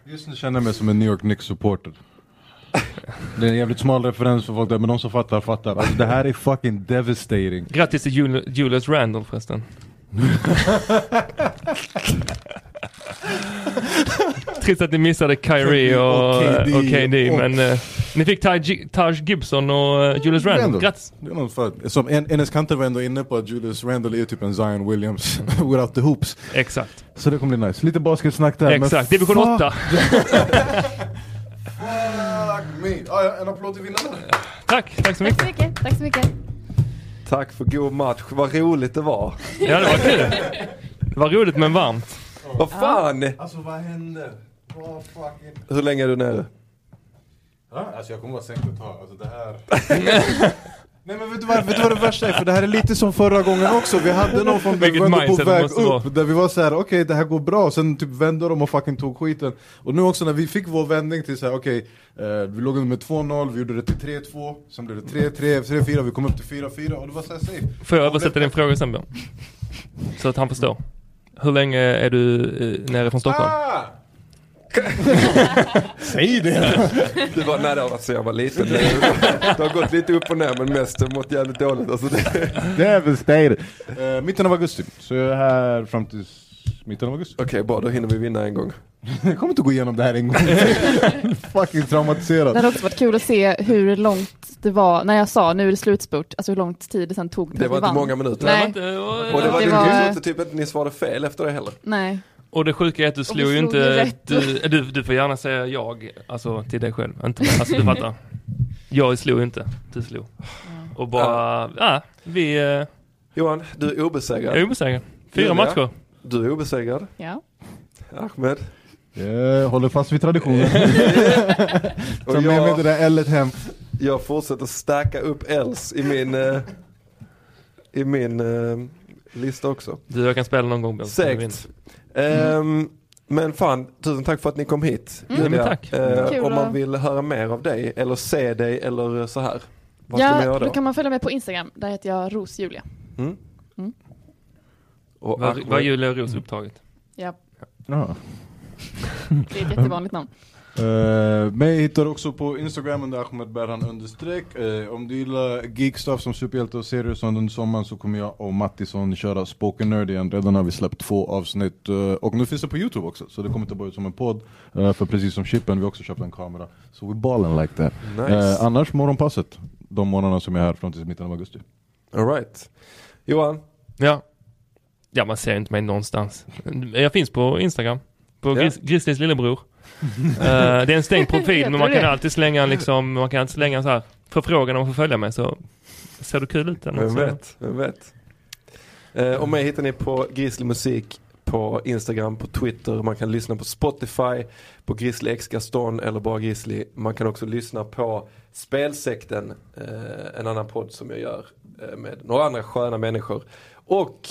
D: Just nu känner jag mig som en New York Knicks supporter. Det är en jävligt smal referens för folk där, men de som fattar fattar. Alltså, det här är fucking devastating.
C: Grattis till Jul- Julius Randall förresten. <laughs> Trist att ni missade Kyrie och,
D: Och
C: och,
D: KD.
C: KD,
D: Och-
C: men eh, ni fick Taj, Taj Gibson och eh, Julius Randall.
D: Randall.
C: Grattis!
D: Det är någon för, som en, Enes Kanter var ändå inne på att Julius Randle är typ en Zion Williams <laughs> without the hoops.
C: Exakt,
D: Så det kommer bli nice. Lite basketsnack där. men
C: exakt. Division
D: fuck
C: 8.
D: Fuck me! Ah, ja, en applåd till vinnaren.
C: Tack, tack så mycket.
E: Tack så mycket, tack så mycket.
A: Tack för god match, vad roligt det var.
C: Ja, det var kul. Det var roligt men varmt.
A: Vad fan!
D: Alltså vad händer? Vad fucking...
A: Hur länge är du nere?
D: Alltså jag kommer vara sänkt ett tag. Alltså det här...
C: <laughs>
D: Nej men vet du, vad, vet du vad det värsta är? För det här är lite som förra gången också. Vi hade någon från
C: Vilket
D: vi var ändå på
C: mindset det
D: väg upp.
C: måste vara.
D: Där vi var så här: okej det här går bra. Sen typ vände de och fucking tog skiten. Och nu också när vi fick vår vändning till så här: okej. eh, vi låg under med 2-0, vi gjorde det till 3-2. Sen blev det 3-3, 3-4, vi kom upp till 4-4. Och det var såhär safe.
C: Får jag översätta din fråga sen Björn? Så att han förstår. Hur länge är du eh, nere från Stockholm? <laughs>
D: Ah! Säg det!
A: Du var, nej det var alltså jag var liten. Det det har gått lite upp och ner men mest har jag mått jävligt dåligt. Alltså det...
D: Devastated. Uh, mitten av augusti. Så jag är här fram till mitten av augusti.
A: Okej bra, då hinner vi vinna en gång.
D: Jag kommer inte gå igenom det här en gång Fucking
E: Det
D: traumatiserad.
E: hade också varit kul att se hur långt det var, när jag sa nu är det slutspurt, alltså hur lång tid det sen tog
A: Det var
E: vi
A: inte
E: vann.
A: många minuter.
E: Nej.
C: Det var inte-
A: Och det var,
E: Det
A: det
E: var-
A: inte typ att ni svarade fel efter det heller.
E: Nej.
C: Och det sjuka är att du slog ju
E: slog ju
C: inte...
E: rätt.
C: Du, du, du får gärna säga jag, alltså till dig själv. Inte, alltså du fattar. Jag slog ju inte, du slog. Och bara, ja, vi eh,
A: Johan, du är obesegrad.
C: är obesegrade. Fyra
A: Julia.
C: matcher.
A: Du är obesegrad.
E: Ja.
A: Ahmed.
D: Jag håller fast vid <laughs> traditionen.
A: Och
D: Ta med mig det
A: jag,
D: där ellet hem.
A: jag fortsätter stacka upp Els i min, eh, i min eh, lista också.
C: Du, jag kan spela någon gång. Björn, så vi vinner.
A: Segt.
D: Mm.
A: Ehm, men fan, tusen tack för att ni kom hit.
E: Mm.
A: Julia.
C: Men tack.
A: Eh,
E: Kul
A: om man
E: att-
A: vill höra mer av dig eller se dig eller eh, så här. Vad ska man
E: ja,
A: göra
E: då
A: då?
E: kan man följa mig på Instagram, där heter jag Rosjulia.
A: Och
C: Vad
A: Ahmed-
C: vad Julia och Ros upptaget?
E: Ja,
D: Ja.
E: det
A: Mm.
E: är ett jättevanligt namn.
D: Eh, mig hittar du också på Instagram under Ahmed Berhan understreck. Eh, om du gillar geekstuff som superhjälte och serier och sånt under sommaren så kommer jag och Mattisson köra Spoken Nerd igen. Redan har vi släppt två avsnitt eh, och nu finns det på Youtube också. Så det kommer inte bara ut som en podd. Eh, för precis som Chippen, vi har också köpt en kamera. Så we ballen like that.
A: Nice.
D: Eh, annars morgonpasset. De månaderna som jag är här fram till mitten av augusti.
A: All right. Johan,
C: Ja. Ja, man ser inte mig någonstans. Jag finns på Instagram. På
A: Ja.
C: Gris, Grislins lillebror. Eh, det är en
E: <laughs>
C: stängd profil, men man kan alltid slänga en liksom, man kan alltid slänga en så här förfrågan om att få följa mig så ser du kul ut. eller något
A: Vem
C: så-
A: vet, vem vet. Eh, och mig hittar ni på Grizzly Musik på Instagram, på Twitter, man kan lyssna på Spotify, på Grizzly X Gaston eller bara Grizzly. Man kan också lyssna på Spelsekten, eh, en annan podd som jag gör eh, med några andra sköna människor. Och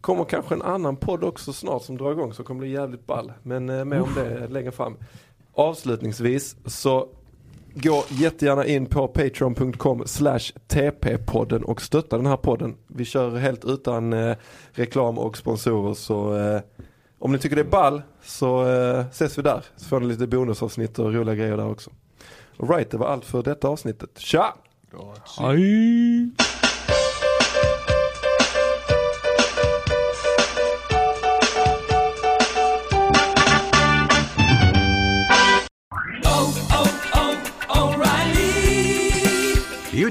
A: kommer kanske en annan podd också snart som drar igång så kommer det bli jävligt ball. Men eh, mer om det längre fram. Avslutningsvis så gå jättegärna in på patreon.com slash tp-podden och stötta den här podden. Vi kör helt utan eh, reklam och sponsorer så eh, om ni tycker det är ball så eh, ses vi där. Så får ni lite bonusavsnitt och roliga grejer där också. Alright, det var allt för detta avsnittet. Tja!
C: Aj.
G: You